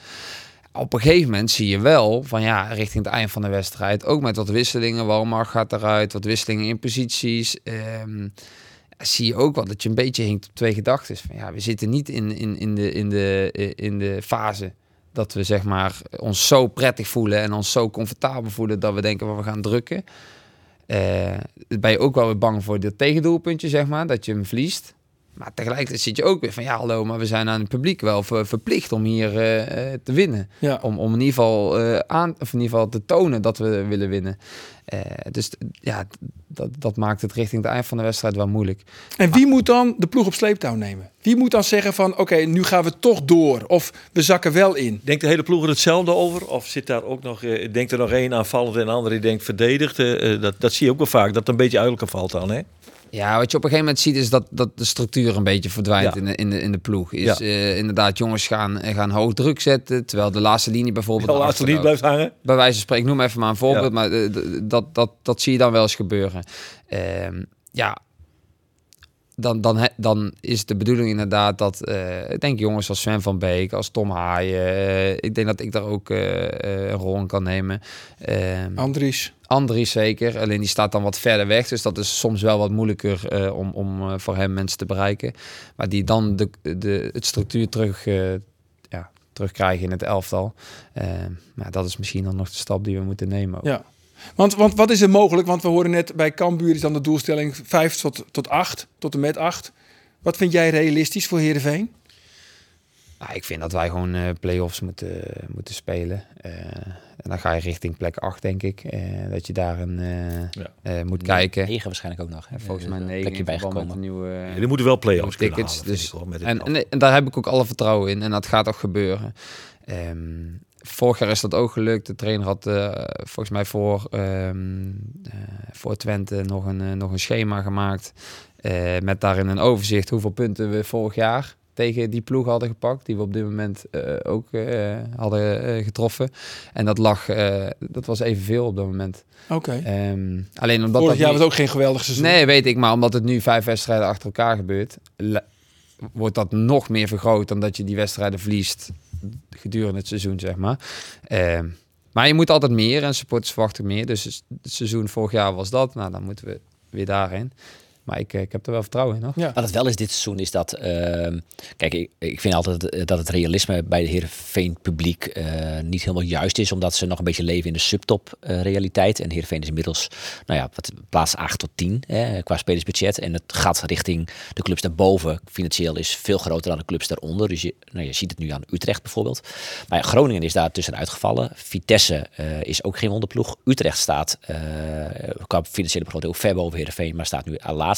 D: Op een gegeven moment zie je wel van ja, richting het eind van de wedstrijd. Ook met wat wisselingen. Walmar gaat eruit, wat wisselingen in posities. ehm, zie je ook wel dat je een beetje hinkt op twee gedachten. Van ja, we zitten niet in, in, in, de, in, de, eh, in de fase dat we zeg maar ons zo prettig voelen en ons zo comfortabel voelen dat we denken van we gaan drukken. Eh, ben je ook wel weer bang voor dit tegendoelpuntje, zeg maar, dat je hem verliest. Maar tegelijkertijd zit je ook weer van ja, hallo, maar we zijn aan het publiek wel ver- verplicht om hier eh, eh, te winnen.
A: Ja.
D: Om, om in ieder geval eh, aan, of in ieder geval te tonen dat we willen winnen. Eh, dus t- ja, t- dat, dat maakt het richting het eind van de wedstrijd wel moeilijk.
A: En wie moet dan de ploeg op sleeptouw nemen? Wie moet dan zeggen van, oké, nu gaan we toch door of we zakken wel in?
H: Denkt de hele ploeg er hetzelfde over? Of zit daar ook nog, eh, denkt er nog één aanvallend en een ander die denkt verdedigd? Eh, eh, dat, dat zie je ook wel vaak, dat het een beetje uit elkaar valt dan. Hè?
D: Ja, wat je op een gegeven moment ziet is dat, dat de structuur een beetje verdwijnt
H: Ja.
D: in, de, in, de, in de ploeg. Is
H: Ja.
D: eh, inderdaad, jongens gaan, eh, gaan hoog druk zetten, terwijl de laatste linie bijvoorbeeld...
H: De laatste
D: achterover-
H: lied blijft hangen.
D: bij wijze van spreken, noem even maar een voorbeeld,
H: Ja.
D: maar eh, d- dat, dat, dat zie je dan wel eens gebeuren. Ehm, ja, dan, dan, he- dan is de bedoeling inderdaad dat, eh, ik denk jongens als Sven van Beek, als Tom Haaien, eh, ik denk dat ik daar ook eh, eh, een rol in kan nemen.
A: Oh,
D: Ehm
A: Andries.
D: Andries zeker, alleen die staat dan wat verder weg, dus dat is soms wel wat moeilijker eh, om, om eh, voor hem mensen te bereiken. Maar die dan de, de, het structuur terug, eh, ja, terugkrijgen in het elftal. Ehm, maar dat is misschien dan nog de stap die we moeten nemen. ook.
A: Ja. Want, want wat is er mogelijk? Want we horen net bij Cambuur is dan de doelstelling 5 tot, tot 8, tot en met 8. Wat vind jij realistisch voor Heerenveen?
D: Nou, ik vind dat wij gewoon eh play-offs moeten, moeten spelen. Eh, en dan ga je richting plek 8, denk ik. Eh, dat je daar een, eh,
H: Ja.
D: moet kijken.
E: Negen waarschijnlijk ook nog. hè.
D: Volgens
E: Eh,
D: mij
E: een
D: 9
E: plekje
D: in verband met
E: bijgekomen.
D: de nieuwe... eh,
H: Jullie moeten wel play-offs kunnen
D: tickets.
H: halen, vind
D: dus,
H: ik, hoor, met dit
D: en,
H: elftal.
D: en, en daar heb ik ook alle vertrouwen in. En dat gaat ook gebeuren. Ehm, vorig jaar is dat ook gelukt. De trainer had eh, volgens mij voor, ehm, eh, voor Twente nog een, eh, nog een schema gemaakt. eh, met daarin een overzicht hoeveel punten we vorig jaar tegen die ploeg hadden gepakt. Die we op dit moment eh, ook eh, hadden eh, getroffen. En dat lag, eh, dat was evenveel op dat moment.
A: Oké.
D: Ehm, alleen omdat
A: Vorig
D: dat
A: jaar
D: niet-
A: was ook geen geweldig seizoen.
D: Nee, weet ik. Maar omdat het nu vijf wedstrijden achter elkaar gebeurt, le- wordt dat nog meer vergroot dan dat je die wedstrijden verliest gedurende het seizoen, zeg maar. Ehm, maar je moet altijd meer en supporters verwachten meer. Dus het het seizoen vorig jaar was dat. Nou, dan moeten we weer daarin. Maar ik, eh, ik heb er wel vertrouwen in. Hoor.
A: Ja.
E: Wat het wel is dit seizoen is dat... ehm, kijk, ik, ik vind altijd eh, dat het realisme bij de Heerenveen publiek eh, niet helemaal juist is. Omdat ze nog een beetje leven in de subtop eh, realiteit. En Heerenveen is inmiddels nou ja, wat, plaats 8 tot 10 hè, qua spelersbudget. En het gaat richting de clubs daarboven. Financieel is veel groter dan de clubs daaronder. Dus je, nou, je ziet het nu aan Utrecht bijvoorbeeld. Maar ja, Groningen is daar dus tussenuit gevallen. Vitesse eh, is ook geen wonderploeg. Utrecht staat eh, qua financiële begroting ook ver boven Heerenveen, maar staat nu aan laatste.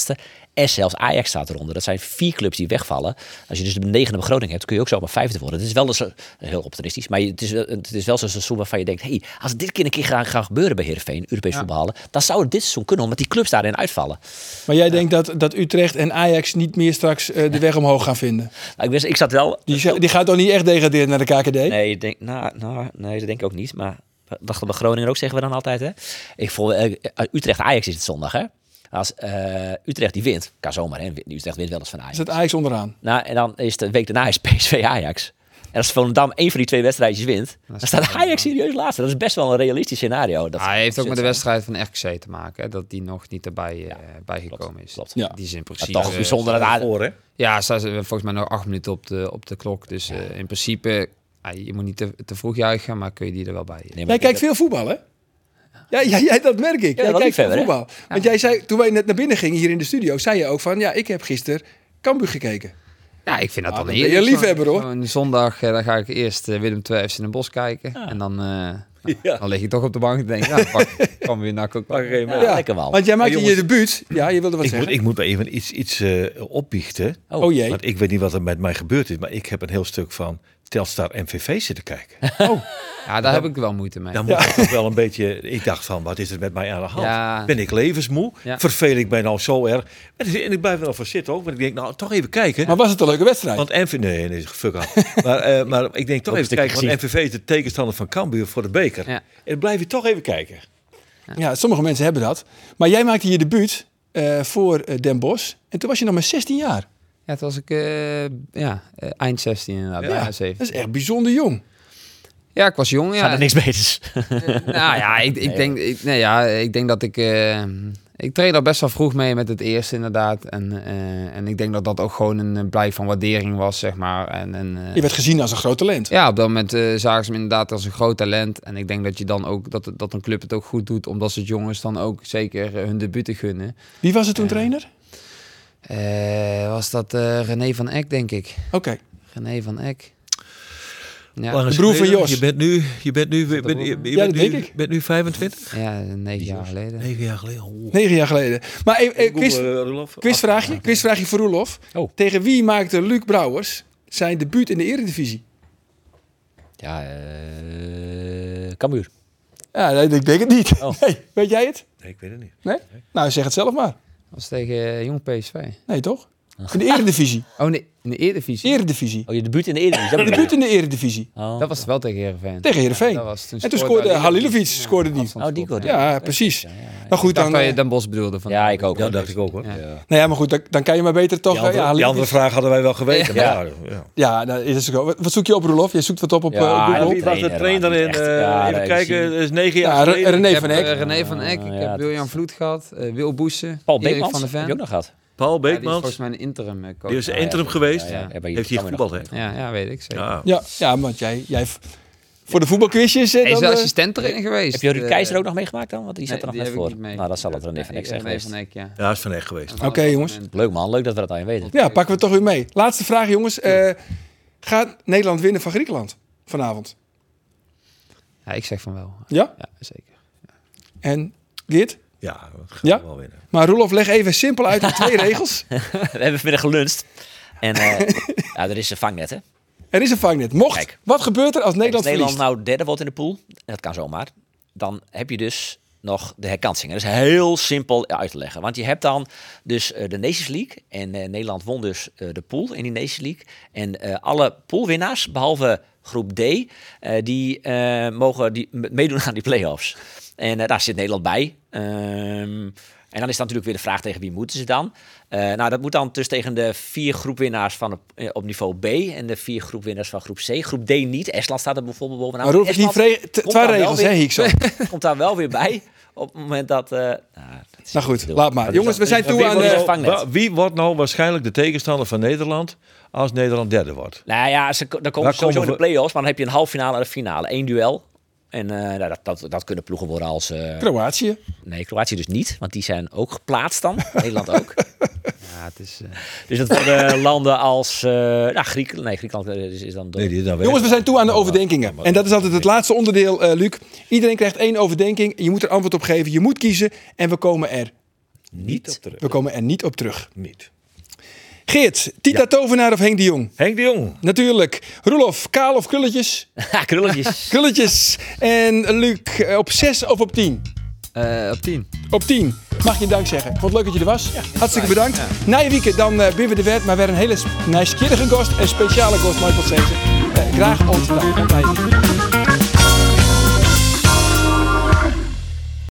E: En zelfs Ajax staat eronder. Dat zijn vier clubs die wegvallen. Als je dus de negende begroting hebt, kun je ook zomaar vijfde worden. Het is wel eens eh, heel optimistisch, maar je- het is, wel- het is wel zo'n seizoen waarvan je denkt, hey, als het dit keer een keer gaat gaan gebeuren bij Heerenveen, Europees voetbal halen, dan zou het dit seizoen kunnen, omdat die clubs daarin uitvallen.
A: Maar jij denkt dat, dat Utrecht en Ajax niet meer straks eh, de weg omhoog gaan vinden?
E: Nou, ik, wist, ik zat wel...
A: Die, z- die gaat toch niet echt degraderen naar de KKD?
E: Nee, ik denk, nou, nou, nee, dat denk ik ook niet. Maar dacht dat bij Groningen ook, zeggen we dan altijd. Hè? Ik voel, eh, Utrecht-Ajax is het zondag, hè? Als eh, Utrecht die wint, kan zomaar, hè? Utrecht wint wel eens van Ajax.
A: Is dat Ajax onderaan?
E: Nou, en dan is de week daarna is PSV Ajax. En als Volendam één van die twee wedstrijdjes wint, dan staat Ajax serieus laatste. Dat is best wel een realistisch scenario. Dat
D: Ah, hij heeft ook met de wedstrijd van RKC te maken. Hè, dat die nog niet erbij eh, bijgekomen is.
E: klopt.
A: Ja.
D: Die is in
E: Maar
D: principe...
E: toch bijzonder
B: eh,
E: dat Ajax...
H: Voor, hè?
D: Ja, staan ze volgens mij nog acht minuten op de, op de klok. Dus eh, in principe, ah, je moet niet te, te vroeg juichen, maar kun je die er wel bij. eh.
E: Nee, maar
A: Jij
E: ik denk
A: kijkt veel voetbal, hè? Ja, ja, jij, dat merk ik. jij
E: wel
A: kijkt veel
E: liefhebber, hè?
A: voetbal. Want jij zei, toen wij net naar binnen gingen hier in de studio, zei je ook van, ja, ik heb gisteren Cambuur gekeken.
D: Ja, ik vind dat
A: Ah,
D: dan
A: dan ben je
D: heerlijk.
A: liefhebber,
D: Zo'n-
A: hoor.
D: zo'n zondag, eh, dan ga ik eerst eh, Willem II FC in het bos kijken. En dan, eh, Dan lig je toch op de bank en denk je, nou, pak, kom weer nak ook.
B: Pak er een mee.
A: Ja.
E: lekker wel.
A: Want jij maakt
B: Hey,
A: in je debuut. Ja, je wilde wat
B: Ik moet,
A: zeggen.
B: ik moet even iets, iets eh, opbiechten.
A: oh jee.
B: Want ik weet niet wat er met mij gebeurd is, maar ik heb een heel stuk van Telstar MVV zitten kijken.
D: Ja, daar heb ik wel moeite mee.
B: Dan moet ik toch wel een beetje... Ik dacht van, wat is er met mij aan de hand?
D: Ja.
B: Ben ik levensmoe?
D: Ja.
B: Vervel ik mij nou zo erg? En ik blijf er wel voor zitten ook, want ik denk, nou, toch even kijken.
A: Maar was het een leuke wedstrijd?
B: Want MVV... Nee, nee, fuck af. maar, eh, maar ik denk toch
E: Ook
B: even
E: een stukje
B: kijken, want MVV is de tegenstander van Cambuur voor de beker.
D: Ja.
B: En dan blijf je toch even kijken.
A: ja, sommige mensen hebben dat. Maar jij maakte je debuut eh, voor eh, Den Bosch. En toen was je nog maar 16 jaar.
D: Ja, toen was ik eh, ja, eh, eind 16 inderdaad, ja,
A: Ja, dat
D: 17.
A: is echt bijzonder jong.
D: Ja, ik was jong. Ja.
E: Gaan er niks beters.
D: nou ja, ik, ik, denk, ik, nee, ja, ik denk dat ik... eh, ik treed al best wel vroeg mee met het eerste inderdaad. En, eh, en ik denk dat dat ook gewoon een eh, blijk van waardering was, zeg maar. En, en, eh,
A: Je werd gezien als een groot talent.
D: ja, op dat moment eh, zagen ze hem inderdaad als een groot talent. En ik denk dat, je dan ook, dat, dat een club het ook goed doet, omdat ze het jongens dan ook zeker eh, hun debuut te gunnen.
A: Wie was het toen trainer?
D: Eh, was dat eh, René van Eck, denk ik.
A: Oké.
D: René van Eck. Ja,
B: Lange
A: broer van
B: Smeder,
A: Jos.
B: Je bent nu, je bent nu, je bent, je, je
A: Ja,
B: bent
A: dat
B: nu,
A: denk ik.
B: bent nu 25?
D: ja negen jaar geleden.
B: Negen jaar geleden. Oh.
A: Negen jaar geleden. Maar even, eh, quiz,
B: Google, eh, Roelof.
A: quizvraagje, quizvraagje voor Roelof.
E: Oh.
A: Tegen wie maakte Luc Brouwers zijn debuut in de eredivisie?
E: Ja, eh Cambuur.
A: Ja, nee, ik denk het niet.
E: Oh.
A: Nee, weet jij het?
B: Nee, ik weet het niet.
A: Nee? Nou, zeg het zelf maar.
D: Dat was tegen eh, Jong PSV.
A: Nee, toch? In de eredivisie.
D: Oh nee, in de Eredivisie.
A: Eredivisie.
E: Oh, je debuut in de Eredivisie. dat
A: Debuut in de eredivisie.
E: bedoel je? Oh.
D: Dat was wel tegen Heerenveen.
A: Tegen Heerenveen.
D: Ja, dat was, toen
A: En toen scoorde
D: David-
A: Halilovic, scoorde die.
D: afstandsschot,
E: Oh, die scoorde.
D: Ja.
A: Ja, precies. Maar goed,
D: Ik dacht
A: dan,
D: dat je
A: eh,
D: Den Bos bedoelde. Van
E: Ja, ik ook.
B: Dat dacht ik ook hoor.
D: Ja.
A: nou ja, maar goed, dan, dan kan je maar beter toch...
B: Die andere,
A: eh, ja,
B: die
A: Halilovic-
B: andere vraag hadden wij wel geweten.
E: Ja.
B: Maar, ja, ja.
A: Ja, dat is het ook. Wat- Wat zoek je op, Roelof? Jij zoekt wat op op
E: Ja,
A: eh,
E: ja,
A: Google.
B: Wie was de
E: Trainer,
B: trainer
E: maar
B: in?
E: niet echt.
B: eh,
E: Ja,
B: even
E: nee,
B: kijken,
E: zie-
B: dat is negen
A: Ja,
B: jaar
A: Re-
B: geleden.
A: René
D: Ik
A: van
D: heb eh,
A: Eck.
D: René van Eck, ik
E: Ah, ja,
D: heb Wiljan
E: dat-
D: Vloed gehad, eh, Wil Boessen,
E: Paul
D: Erik
E: Beekmans
D: van der
E: heb
D: Ven.
E: je ook nog gehad.
B: Paul
D: Ja, die is
B: Beekmans.
D: volgens mij een interim eh, coach.
B: Die is
D: Ja,
B: interim geweest.
E: Ja, ja, hebben we hier
B: Heeft hij
E: Cambuur
B: gevoetbald, hè?
E: nog
D: ja, ja, weet ik zeker.
B: Ja.
A: Ja, ja, want jij... jij voor de voetbalquizjes... eh,
D: Hij is
A: dan,
D: wel
A: eh,
D: assistent trainer geweest.
E: Heb je Ruud
D: Eh,
E: Keizer ook nog meegemaakt dan? Want die
D: nee,
E: zat er
D: die
E: nog net
D: heb ik
E: voor.
D: niet mee.
E: Nou, dat zal het René van
D: Nee,
E: Eck zijn
D: René
E: geweest.
D: van Eck, ja.
B: Ja, is van echt geweest.
D: Van
A: Oké,
D: alle
A: jongens.
D: momenten.
E: Leuk man, leuk dat we dat aan je weten.
A: Ja, pakken we toch weer mee. Laatste vraag, jongens. Eh, gaat Nederland winnen van Griekenland vanavond?
D: Ja, ik zeg van wel.
A: Ja?
D: Ja, zeker.
A: En Geert?
B: Ja, dat gaan
A: Ja?
B: we wel winnen.
A: Maar Roelof, leg even simpel uit de twee regels.
E: We hebben vanmiddag geluncht. En eh, ja, er is een vangnet, hè?
A: Er is een vangnet. Mocht,
E: Kijk.
A: wat gebeurt er als Nederland,
E: Als Nederland
A: verliest?
E: nou derde wordt in de pool, en dat kan zomaar, dan heb je dus nog de herkansingen. Dat is heel simpel uit te leggen. Want je hebt dan dus eh, de Nations League. En eh, Nederland won dus eh, de pool in die Nations League. En eh, alle poolwinnaars, behalve groep D, eh, die eh, mogen die m- meedoen aan die play-offs. En eh, daar zit Nederland bij. Ehm, en dan is dan natuurlijk weer de vraag tegen wie moeten ze dan? Eh, nou, dat moet dan dus tegen de vier groepwinnaars van op, eh, op niveau B en de vier groepwinnaars van groep C. Groep D niet. Estland staat er bijvoorbeeld bovenaan.
A: Maar Roelof, die
E: Estland
A: vre- t-
E: komt
A: twee
E: daar wel
A: regels,
E: weer-
A: hè, Hiekso?
E: Komt daar wel weer bij op het moment dat... eh, nou, dat is
A: Nou
E: niet
A: goed,
E: te doen.
A: laat maar. Jongens, we zijn toe
E: weer
A: aan...
E: wat
A: eh,
E: is het? vangnet.
B: Wa- Wie wordt nou waarschijnlijk de tegenstander van Nederland als Nederland derde wordt?
E: Nou ja, ze, ko- dan komen ze sowieso
B: komen
E: in de
B: we-
E: play-offs, maar dan heb je een halve finale en een finale. Eén duel. En eh, nou, dat, dat, dat kunnen ploegen worden als... eh,
A: Kroatië.
E: nee, Kroatië dus niet, want die zijn ook geplaatst dan. Nederland ook.
D: Ja, het is... eh,
E: Dus dat worden landen als... eh nou, Griekenland. Nee, Griekenland eh, is, is dan... door.
B: Nee, die is dan weg.
A: Jongens, we zijn toe aan de overdenkingen. En dat is altijd het laatste onderdeel, eh, Luc. Iedereen krijgt één overdenking. Je moet er antwoord op geven. Je moet kiezen. En we komen er,
B: niet op terug.
A: we komen er niet op terug.
B: Niet.
A: Geert, Tita Tovenaar of Henk de Jong?
B: Henk de Jong.
A: Natuurlijk. Roelof, kaal of krulletjes?
E: Ha, krulletjes.
A: Krulletjes. En Luc, eh, op 6 of op 10?
D: eh, op 10.
A: Op 10 mag je dank zeggen. Ik Vond het leuk dat je er was. Hartstikke bedankt. Na je weekend dan eh ben we de wet, maar weer een hele nice gast. Een speciale gast, Michael Sezen. Eh, graag ontvangen. Bij je.